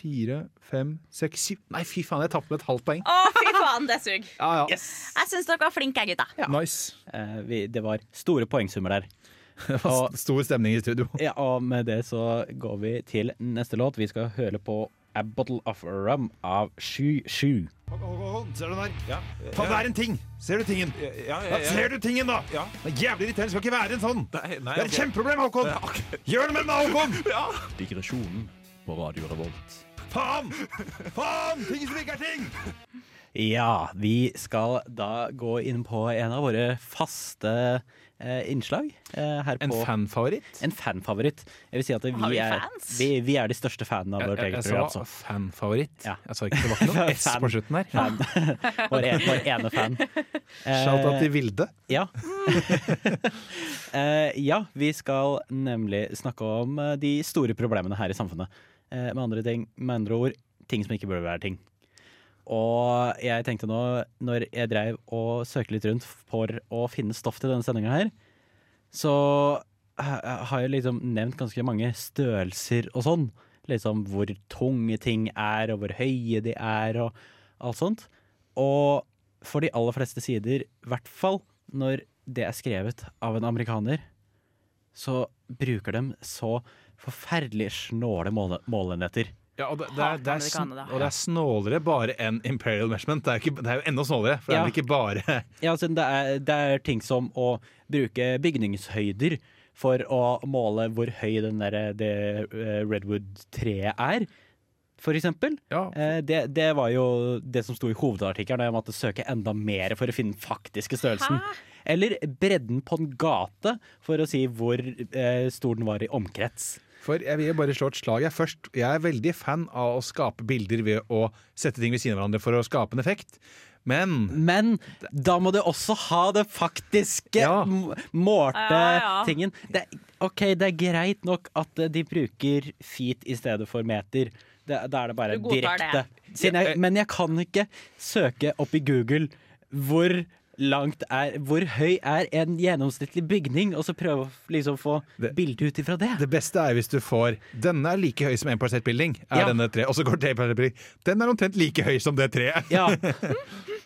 [SPEAKER 5] 4, 5, 6, 7 Nei, fy faen, jeg tapte med et halvt poeng.
[SPEAKER 6] Å, fy faen, det suger.
[SPEAKER 5] Ja, ja.
[SPEAKER 6] Jeg syns dere var flinke, jeg, gutta.
[SPEAKER 5] Nice.
[SPEAKER 4] Eh, vi, det var store poengsummer der.
[SPEAKER 5] Det var st- stor stemning i studio.
[SPEAKER 4] Ja, og med det så går vi til neste låt. Vi skal høre på A Bottle of Rum av Sju Sju.
[SPEAKER 5] Ser du den der? Faen, det er en ting! Ser du tingen?
[SPEAKER 9] Ja, ja, ja,
[SPEAKER 5] Ja, ser du tingen, da?
[SPEAKER 9] Ja.
[SPEAKER 5] Det er jævlig irriterende. Det skal ikke være en sånn.
[SPEAKER 9] Nei, nei,
[SPEAKER 5] det er et
[SPEAKER 9] ok.
[SPEAKER 5] kjempeproblem, Håkon!
[SPEAKER 9] Ja, ok.
[SPEAKER 5] Gjør noe med det, Håkon!
[SPEAKER 2] Digresjonen på Radio Revolt.
[SPEAKER 5] Faen! Faen! Ting som ikke er ting!
[SPEAKER 4] Ja, vi skal da gå inn på en av våre faste eh, innslag eh, her på
[SPEAKER 5] fanfavoritt?
[SPEAKER 4] en fanfavoritt. Jeg vil si at
[SPEAKER 6] Har
[SPEAKER 4] vi
[SPEAKER 6] vi
[SPEAKER 4] er,
[SPEAKER 6] fans?
[SPEAKER 4] vi, vi er de største fanene av vårt eget program.
[SPEAKER 5] altså.
[SPEAKER 4] altså. Så.
[SPEAKER 5] fanfavoritt.
[SPEAKER 4] Ja.
[SPEAKER 5] Jeg sa ikke det var ikke
[SPEAKER 4] noe S på
[SPEAKER 5] slutten her.
[SPEAKER 4] Fan. Vår, en, vår ene fan.
[SPEAKER 5] Shout-out til Vilde.
[SPEAKER 4] Ja. Eh, ja, vi skal nemlig snakke om eh, de store problemene her i samfunnet. Eh, med, andre ting, med andre ord ting som ikke burde være ting. Og jeg tenkte nå, når jeg dreiv og søkte litt rundt for å finne stoff til denne sendinga her, så ha- har jeg liksom nevnt ganske mange størrelser og sånn. Liksom hvor tunge ting er, og hvor høye de er, og alt sånt. Og for de aller fleste sider, i hvert fall når det er skrevet av en amerikaner, så bruker de så forferdelig snåle måle måleenheter.
[SPEAKER 5] Ja, og det, det, er,
[SPEAKER 6] Hater
[SPEAKER 5] det, er, sn-
[SPEAKER 6] amerikanere, da.
[SPEAKER 5] og det er snålere bare enn Imperial Measurement. Det er, ikke, det er jo enda snålere, for det
[SPEAKER 4] Ja.
[SPEAKER 5] er vel ikke bare
[SPEAKER 4] Ja, altså, det, er, det er ting som å bruke bygningshøyder for å måle hvor høy den der, det eh, redwood-treet er, for eksempel.
[SPEAKER 5] Ja.
[SPEAKER 4] Eh, Det, det var jo det som sto i hovedartikkelen, og jeg måtte søke enda mer for å finne den faktiske størrelsen. Eller bredden på en gate, for å si hvor eh, stor den var i omkrets.
[SPEAKER 5] For jeg vil jo bare slå et slag jeg først. Jeg er veldig fan av å skape bilder ved å sette ting ved siden av hverandre for å skape en effekt. Men
[SPEAKER 4] Men da må du også ha det faktiske
[SPEAKER 5] Ja.
[SPEAKER 4] m- målte
[SPEAKER 6] Ja, ja.
[SPEAKER 4] tingen. Det, er- OK, det er greit nok at eh, de bruker feet i stedet for meter. Det, da er det bare
[SPEAKER 6] Du godtar
[SPEAKER 4] direkte.
[SPEAKER 6] det.
[SPEAKER 4] Siden jeg, men jeg kan ikke søke opp i Google hvor langt er Hvor høy er en gjennomsnittlig bygning, og så prøve å liksom få
[SPEAKER 5] Det-
[SPEAKER 4] bilde ut ifra det.
[SPEAKER 5] det beste er hvis du får 'denne er like høy som en parsett building', er
[SPEAKER 4] Ja.
[SPEAKER 5] denne tre, og så går det en parsett building. Den er omtrent like høy som det treet.
[SPEAKER 4] Ja.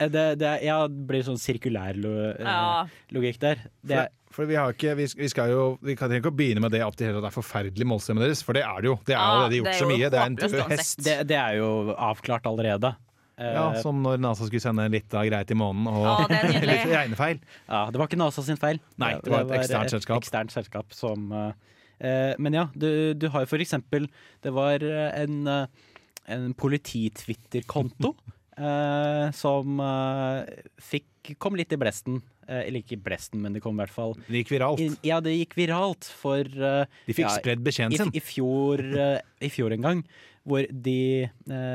[SPEAKER 4] Eh, Det, det, ja, det blir sånn sirkulær lo, eh,
[SPEAKER 6] Ja.
[SPEAKER 4] logikk der. Det,
[SPEAKER 5] For, for vi har ikke, vi, sk- vi skal jo Vi kan trenger ikke å begynne med det at det er forferdelig målstemmen deres, for det er det jo. Det er
[SPEAKER 6] Ja,
[SPEAKER 5] allerede gjort
[SPEAKER 6] Ah, det er
[SPEAKER 5] så
[SPEAKER 6] jo
[SPEAKER 5] mye. Det er en
[SPEAKER 6] håpløst
[SPEAKER 5] død
[SPEAKER 6] uansett.
[SPEAKER 5] hest.
[SPEAKER 4] det, det er jo avklart allerede. Eh,
[SPEAKER 5] Ja, som når NASA skulle sende en lita greie til månen og
[SPEAKER 6] Å, det er nydelig.
[SPEAKER 5] litt regnefeil.
[SPEAKER 4] ja, det var ikke NASA sin feil. eh,
[SPEAKER 5] Nei, det var et eksternt selskap.
[SPEAKER 4] eksternt selskap som, eh, eh, men ja, du, du har jo for eksempel Det var eh, en, eh, en politi-Twitter-konto eh, som eh, fikk, kom litt i blesten. Eh, eller ikke i blesten, men det kom i hvert fall
[SPEAKER 5] Det gikk viralt.
[SPEAKER 4] I- Ja, det gikk viralt for eh,
[SPEAKER 5] De fikk
[SPEAKER 4] ja,
[SPEAKER 5] spredd beskjeden
[SPEAKER 4] i,
[SPEAKER 5] sin.
[SPEAKER 4] i, fjor, eh, I fjor en gang, hvor de eh,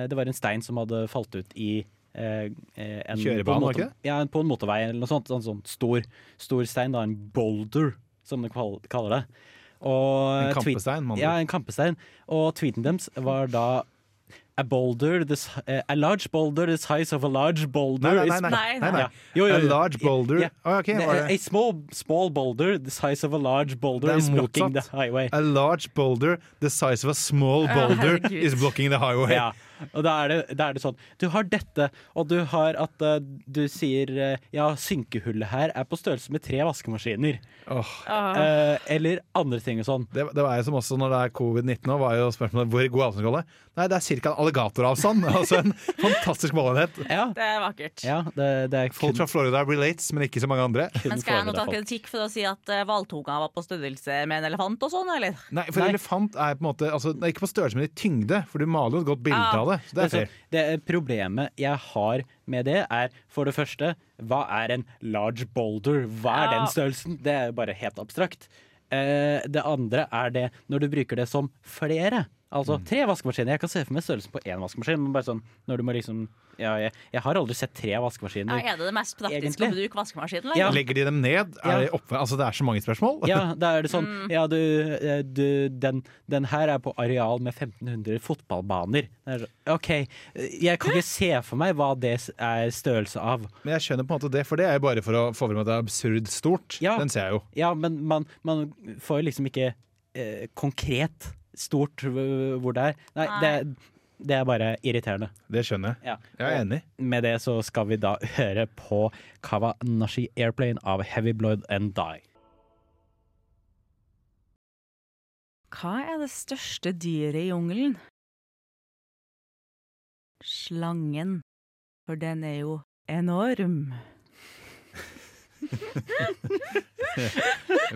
[SPEAKER 4] Det var en stein som hadde falt ut i eh, eh, en,
[SPEAKER 5] Kjørebanen,
[SPEAKER 4] på en
[SPEAKER 5] var
[SPEAKER 4] motor-
[SPEAKER 5] ikke det?
[SPEAKER 4] Ja, på en motorvei eller noe sånt. En sånn stor, stor stein. Da, en boulder, som de kal- kaller det. Og,
[SPEAKER 5] En
[SPEAKER 4] tweet-
[SPEAKER 5] kampestein, med andre
[SPEAKER 4] Ja,
[SPEAKER 5] ord.
[SPEAKER 4] en kampestein. Og tweeten deres var da A boulder, this, eh, a large boulder the size of a large boulder
[SPEAKER 5] Nei, nei,
[SPEAKER 4] is
[SPEAKER 5] nei.
[SPEAKER 6] Nei,
[SPEAKER 5] nei, nei,
[SPEAKER 4] ja.
[SPEAKER 5] nei.
[SPEAKER 4] Jo, jo,
[SPEAKER 5] A
[SPEAKER 4] jo.
[SPEAKER 5] large boulder
[SPEAKER 4] Ja.
[SPEAKER 5] Å, ok,
[SPEAKER 4] Ne-
[SPEAKER 5] var det.
[SPEAKER 4] A small, small boulder the size of a large boulder
[SPEAKER 5] Det er
[SPEAKER 4] is blocking
[SPEAKER 5] motsatt.
[SPEAKER 4] the highway.
[SPEAKER 5] A large boulder the size of a small boulder
[SPEAKER 6] herregud.
[SPEAKER 5] is blocking the highway.
[SPEAKER 4] Ja, og da er, det, da er det sånn Du har dette, og du har at eh, du sier eh, Ja, synkehullet her er på størrelse med tre vaskemaskiner.
[SPEAKER 5] Åh,
[SPEAKER 4] Eh, eller andre ting og sånn.
[SPEAKER 5] Det, det var jo som også når det er covid-19 nå, var jo spørsmålet hvor god avstand skal det? Nei, det er ca. en alligatoravstand. altså en fantastisk målenhet.
[SPEAKER 4] Ja,
[SPEAKER 6] Det er vakkert.
[SPEAKER 4] ja det, det er
[SPEAKER 5] Folk fra Florida relates, men ikke så mange andre.
[SPEAKER 4] kun
[SPEAKER 6] Men skal jeg nå ta
[SPEAKER 4] forberedt folk.
[SPEAKER 6] kritikk for å si at eh, hvaltunga var på størrelse med en elefant og sånn, eller?
[SPEAKER 5] Nei, for
[SPEAKER 4] Nei.
[SPEAKER 5] elefant er på en måte altså, det er ikke på størrelse, men i tyngde. For du maler jo et godt bilde
[SPEAKER 6] Ja.
[SPEAKER 5] av det. Så det er
[SPEAKER 4] Altså,
[SPEAKER 5] fair.
[SPEAKER 4] det eh, problemet jeg har med det, er for det første Hva er en large boulder? Hva er
[SPEAKER 6] Ja.
[SPEAKER 4] den størrelsen? Det er jo bare helt abstrakt. Eh, det andre er det når du bruker det som flere. Altså
[SPEAKER 5] Mm.
[SPEAKER 4] tre vaskemaskiner. Jeg kan se for meg størrelsen på én vaskemaskin. Men bare sånn, når du må liksom ja, jeg, jeg har aldri sett tre
[SPEAKER 6] Ja,
[SPEAKER 4] vaskemaskiner.
[SPEAKER 6] er det det mest praktiske
[SPEAKER 4] Egentlig.
[SPEAKER 6] å bruke vaskemaskinen?
[SPEAKER 4] Ja.
[SPEAKER 6] Eller?
[SPEAKER 5] Legger de dem ned?
[SPEAKER 4] Ja.
[SPEAKER 5] Er det, oppe, altså, det er så mange spørsmål.
[SPEAKER 4] Ja, da er det sånn
[SPEAKER 5] Mm.
[SPEAKER 4] Ja, du, eh, du den, den her er på areal med 1500 fotballbaner. Det er så- OK, jeg kan ikke se for meg hva det s- er størrelse av.
[SPEAKER 5] Men jeg skjønner på en måte det, for det er jo bare for å få frem at det er absurd stort.
[SPEAKER 4] Ja.
[SPEAKER 5] Den ser jeg jo.
[SPEAKER 4] Ja, men man, man får jo liksom ikke eh, konkret stort øh, hvor det er. Nei, det, det er bare irriterende.
[SPEAKER 5] Det skjønner jeg.
[SPEAKER 4] Ja.
[SPEAKER 5] Jeg er enig.
[SPEAKER 4] Med det så skal vi da høre på Kawanashi Airplane av Heavy Blood and Die.
[SPEAKER 6] Hva er det største dyret i jungelen? slangen. For den er jo enorm.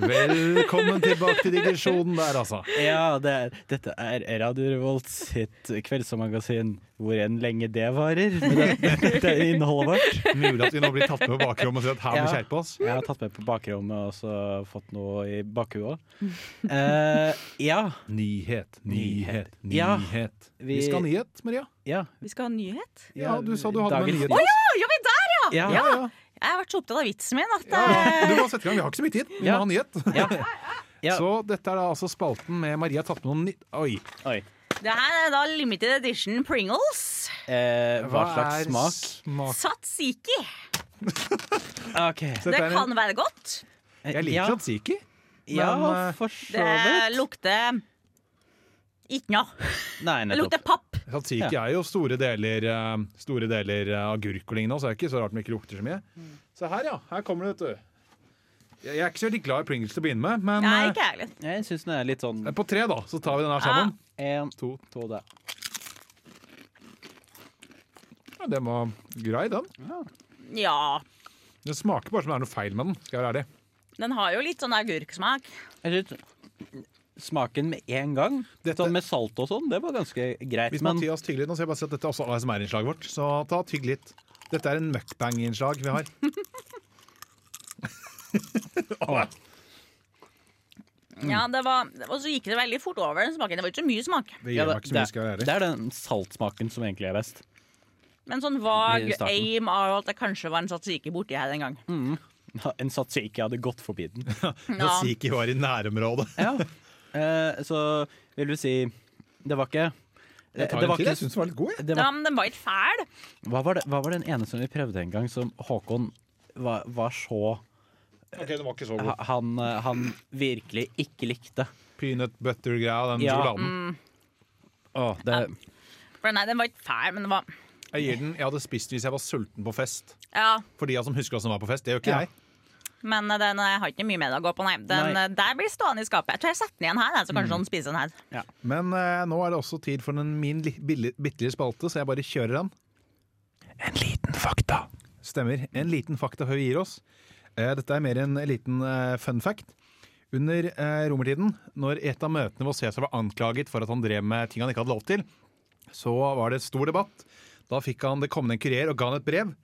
[SPEAKER 5] Velkommen tilbake til digresjonen der, altså.
[SPEAKER 4] Ja, det er, dette er Radio Revolt sitt kveldsmagasin, hvor enn lenge det varer. Men det, dette er innholdet vårt.
[SPEAKER 5] Mulig at vi nå blir tatt med på bakrommet og sier at her må vi
[SPEAKER 4] Ja.
[SPEAKER 5] skjerpe oss.
[SPEAKER 4] Jeg har tatt med på bakrommet og så fått noe i bakhuet òg. Eh, ja,
[SPEAKER 5] Nyhet, nyhet, nyhet.
[SPEAKER 4] Ja,
[SPEAKER 5] vi...
[SPEAKER 4] vi-
[SPEAKER 5] skal ha nyhet, Maria.
[SPEAKER 4] ja.
[SPEAKER 6] Vi skal ha nyhet.
[SPEAKER 5] Ja, du sa du hadde med
[SPEAKER 4] Dagens-
[SPEAKER 5] nyhet.
[SPEAKER 6] Å ja! Ja, vi der, ja!
[SPEAKER 4] Ja.
[SPEAKER 6] ja! Jeg har vært så opptatt av vitsen min at
[SPEAKER 5] Ja, ja. Du
[SPEAKER 6] eh,
[SPEAKER 5] må sette i gang, vi har ikke så mye tid. Vi må
[SPEAKER 4] Ja.
[SPEAKER 5] ha nyhet.
[SPEAKER 4] Ja. Ja.
[SPEAKER 5] Så dette er da altså spalten med Maria tatt med noen nytt Oi.
[SPEAKER 4] Oi.
[SPEAKER 6] Det her er da limited edition Pringles.
[SPEAKER 4] Eh, hva slags
[SPEAKER 5] er
[SPEAKER 4] smak?
[SPEAKER 5] smak?
[SPEAKER 6] Satsiki.
[SPEAKER 4] Ah, OK.
[SPEAKER 5] Dette
[SPEAKER 6] Ah. Det
[SPEAKER 5] er en-
[SPEAKER 6] kan være godt.
[SPEAKER 5] Jeg liker
[SPEAKER 4] ja,
[SPEAKER 5] tzatziki. men,
[SPEAKER 4] Ja,
[SPEAKER 5] eh,
[SPEAKER 4] for så
[SPEAKER 6] Det
[SPEAKER 4] vidt.
[SPEAKER 6] lukter ikke noe.
[SPEAKER 4] Nei,
[SPEAKER 6] Det
[SPEAKER 4] nettopp.
[SPEAKER 6] lukter papp.
[SPEAKER 5] Tzatziki er jo store deler, eh, store deler eh, agurk og lignende, så det er ikke så rart den ikke lukter så mye.
[SPEAKER 4] Mm.
[SPEAKER 5] Se her, ja. Her kommer det, vet du. Jeg jeg er ikke så veldig glad i Pringles til å begynne med, men
[SPEAKER 6] Ah, Nei,
[SPEAKER 5] eh,
[SPEAKER 6] ikke jeg heller.
[SPEAKER 4] Jeg syns den er litt sånn
[SPEAKER 5] på tre, da, så tar vi den her sammen.
[SPEAKER 4] én,
[SPEAKER 5] To.
[SPEAKER 4] to der.
[SPEAKER 5] Ja, den var grei, den.
[SPEAKER 6] Ja.
[SPEAKER 5] Den smaker bare som det er noe feil med den, skal jeg være ærlig.
[SPEAKER 6] Den har jo litt sånn agurksmak.
[SPEAKER 4] Jeg synes smaken med en gang,
[SPEAKER 5] Dette-
[SPEAKER 4] sånn med salt og sånn, det var ganske greit.
[SPEAKER 5] Hvis
[SPEAKER 4] Men
[SPEAKER 5] Mathias tygger litt, nå ser jeg bare si at dette er også ASMR-innslaget vårt, så ta og tygg litt. Dette er en mukbang-innslag vi har.
[SPEAKER 6] Ja, det var, Og så gikk det veldig fort over den smaken. Det var ikke så mye smak.
[SPEAKER 5] Det
[SPEAKER 4] ja,
[SPEAKER 5] gjør meg ikke så mye, skal jeg være
[SPEAKER 4] det
[SPEAKER 5] ærlig.
[SPEAKER 4] er den saltsmaken som egentlig er best.
[SPEAKER 6] Men sånn vag
[SPEAKER 4] I starten. Mm.
[SPEAKER 6] aim av at det kanskje var en satsiki borti her en gang.
[SPEAKER 4] Ja, En sats jeg ikke hadde gått forbi den.
[SPEAKER 6] Ja.
[SPEAKER 5] Tzatziki var i nærområdet.
[SPEAKER 4] Eh, så vil du si Det var ikke det,
[SPEAKER 5] Jeg tar
[SPEAKER 4] det
[SPEAKER 5] en
[SPEAKER 4] var
[SPEAKER 5] til,
[SPEAKER 4] ikke
[SPEAKER 5] jeg syns den var litt god, jeg.
[SPEAKER 4] det
[SPEAKER 6] Ja,
[SPEAKER 4] var,
[SPEAKER 6] men den var ikke fæl.
[SPEAKER 4] hva, var det, hva var den ene som vi prøvde en gang, som Håkon var, var så
[SPEAKER 5] Ok, den var ikke så
[SPEAKER 4] ha-
[SPEAKER 5] god.
[SPEAKER 4] han, eh, han virkelig ikke likte?
[SPEAKER 5] Peanut butter-greia, den
[SPEAKER 4] Ja.
[SPEAKER 5] sjokoladen.
[SPEAKER 4] Å, det,
[SPEAKER 6] For nei, den var ikke fæl, men den var
[SPEAKER 5] Jeg gir den, jeg hadde spist hvis jeg var sulten på fest.
[SPEAKER 6] Ja,
[SPEAKER 5] For de av oss som husker oss som var på fest, det gjør ikke
[SPEAKER 4] Ja.
[SPEAKER 5] jeg.
[SPEAKER 6] men den eh, har ikke mye med det å gå på, nei. Den
[SPEAKER 4] Nei. Mm.
[SPEAKER 6] eh, der blir stående i skapet. Jeg tror jeg setter den igjen her, jeg, så kanskje han spiser den her.
[SPEAKER 5] Men eh, nå er det også tid for den min li- billi- bitte lille spalte, så jeg bare kjører den. En liten fakta. Stemmer. En liten fakta før vi gir oss. Eh, dette er mer en liten eh, fun fact. Under eh, romertiden, når et av møtene hvor Cæsar var anklaget for at han drev med ting han ikke hadde lov til, så var det stor debatt. Da fikk han det kommende en kurer og ga han et brev.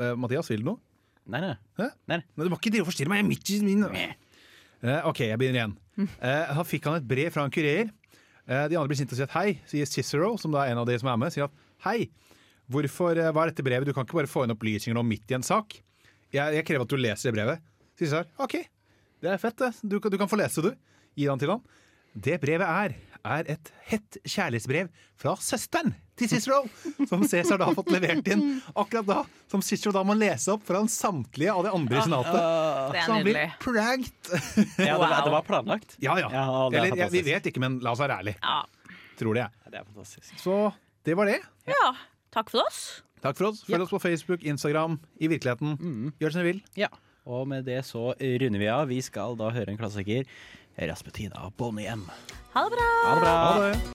[SPEAKER 5] Eh, Mathias, vil du noe?
[SPEAKER 4] nei, nei.
[SPEAKER 5] Hæ?
[SPEAKER 4] nei.
[SPEAKER 5] Nei, du må ikke drive og forstyrre meg. Jeg er midt i min Eh, OK, jeg begynner igjen. Eh, da fikk han et brev fra en kurer. Eh, de andre blir sinte og sier at hei, sier Cicero, som da er en av de som er med, sier at hei, hvorfor, eh, hva er dette brevet? Du kan ikke bare få inn opplysninger nå midt i en sak. Jeg, jeg krever at du leser det brevet. Cicero, OK, det er fett, det. Du, kan- du kan få lese det, du. Gir han til han. Det brevet er, er et hett kjærlighetsbrev fra søsteren til Cicero, som Cæsar da har fått levert inn akkurat da, som Cicero da må lese opp foran samtlige av de andre i senatet.
[SPEAKER 6] Det
[SPEAKER 5] Så
[SPEAKER 6] er
[SPEAKER 4] Sånn
[SPEAKER 5] han blir
[SPEAKER 6] nydelig.
[SPEAKER 5] pranked.
[SPEAKER 4] Ja, det, var, det
[SPEAKER 6] Wow.
[SPEAKER 4] var planlagt?
[SPEAKER 5] Ja, ja.
[SPEAKER 4] Ja, det er
[SPEAKER 5] Eller, ja, vi
[SPEAKER 4] fantastisk.
[SPEAKER 5] vet ikke, men la oss være ærlige.
[SPEAKER 6] Ja.
[SPEAKER 5] Tror det jeg.
[SPEAKER 4] Det er fantastisk.
[SPEAKER 5] Så det var det.
[SPEAKER 6] ja. Takk for oss.
[SPEAKER 5] Takk for oss. Følg oss på Facebook, Instagram, i virkeligheten. Gjør som dere vil.
[SPEAKER 4] Ja, og med det så runder vi av. Vi skal da høre en klassiker. Rasputina Bonnie M.
[SPEAKER 6] Ha det bra.
[SPEAKER 4] Ha det bra!
[SPEAKER 5] Ha det.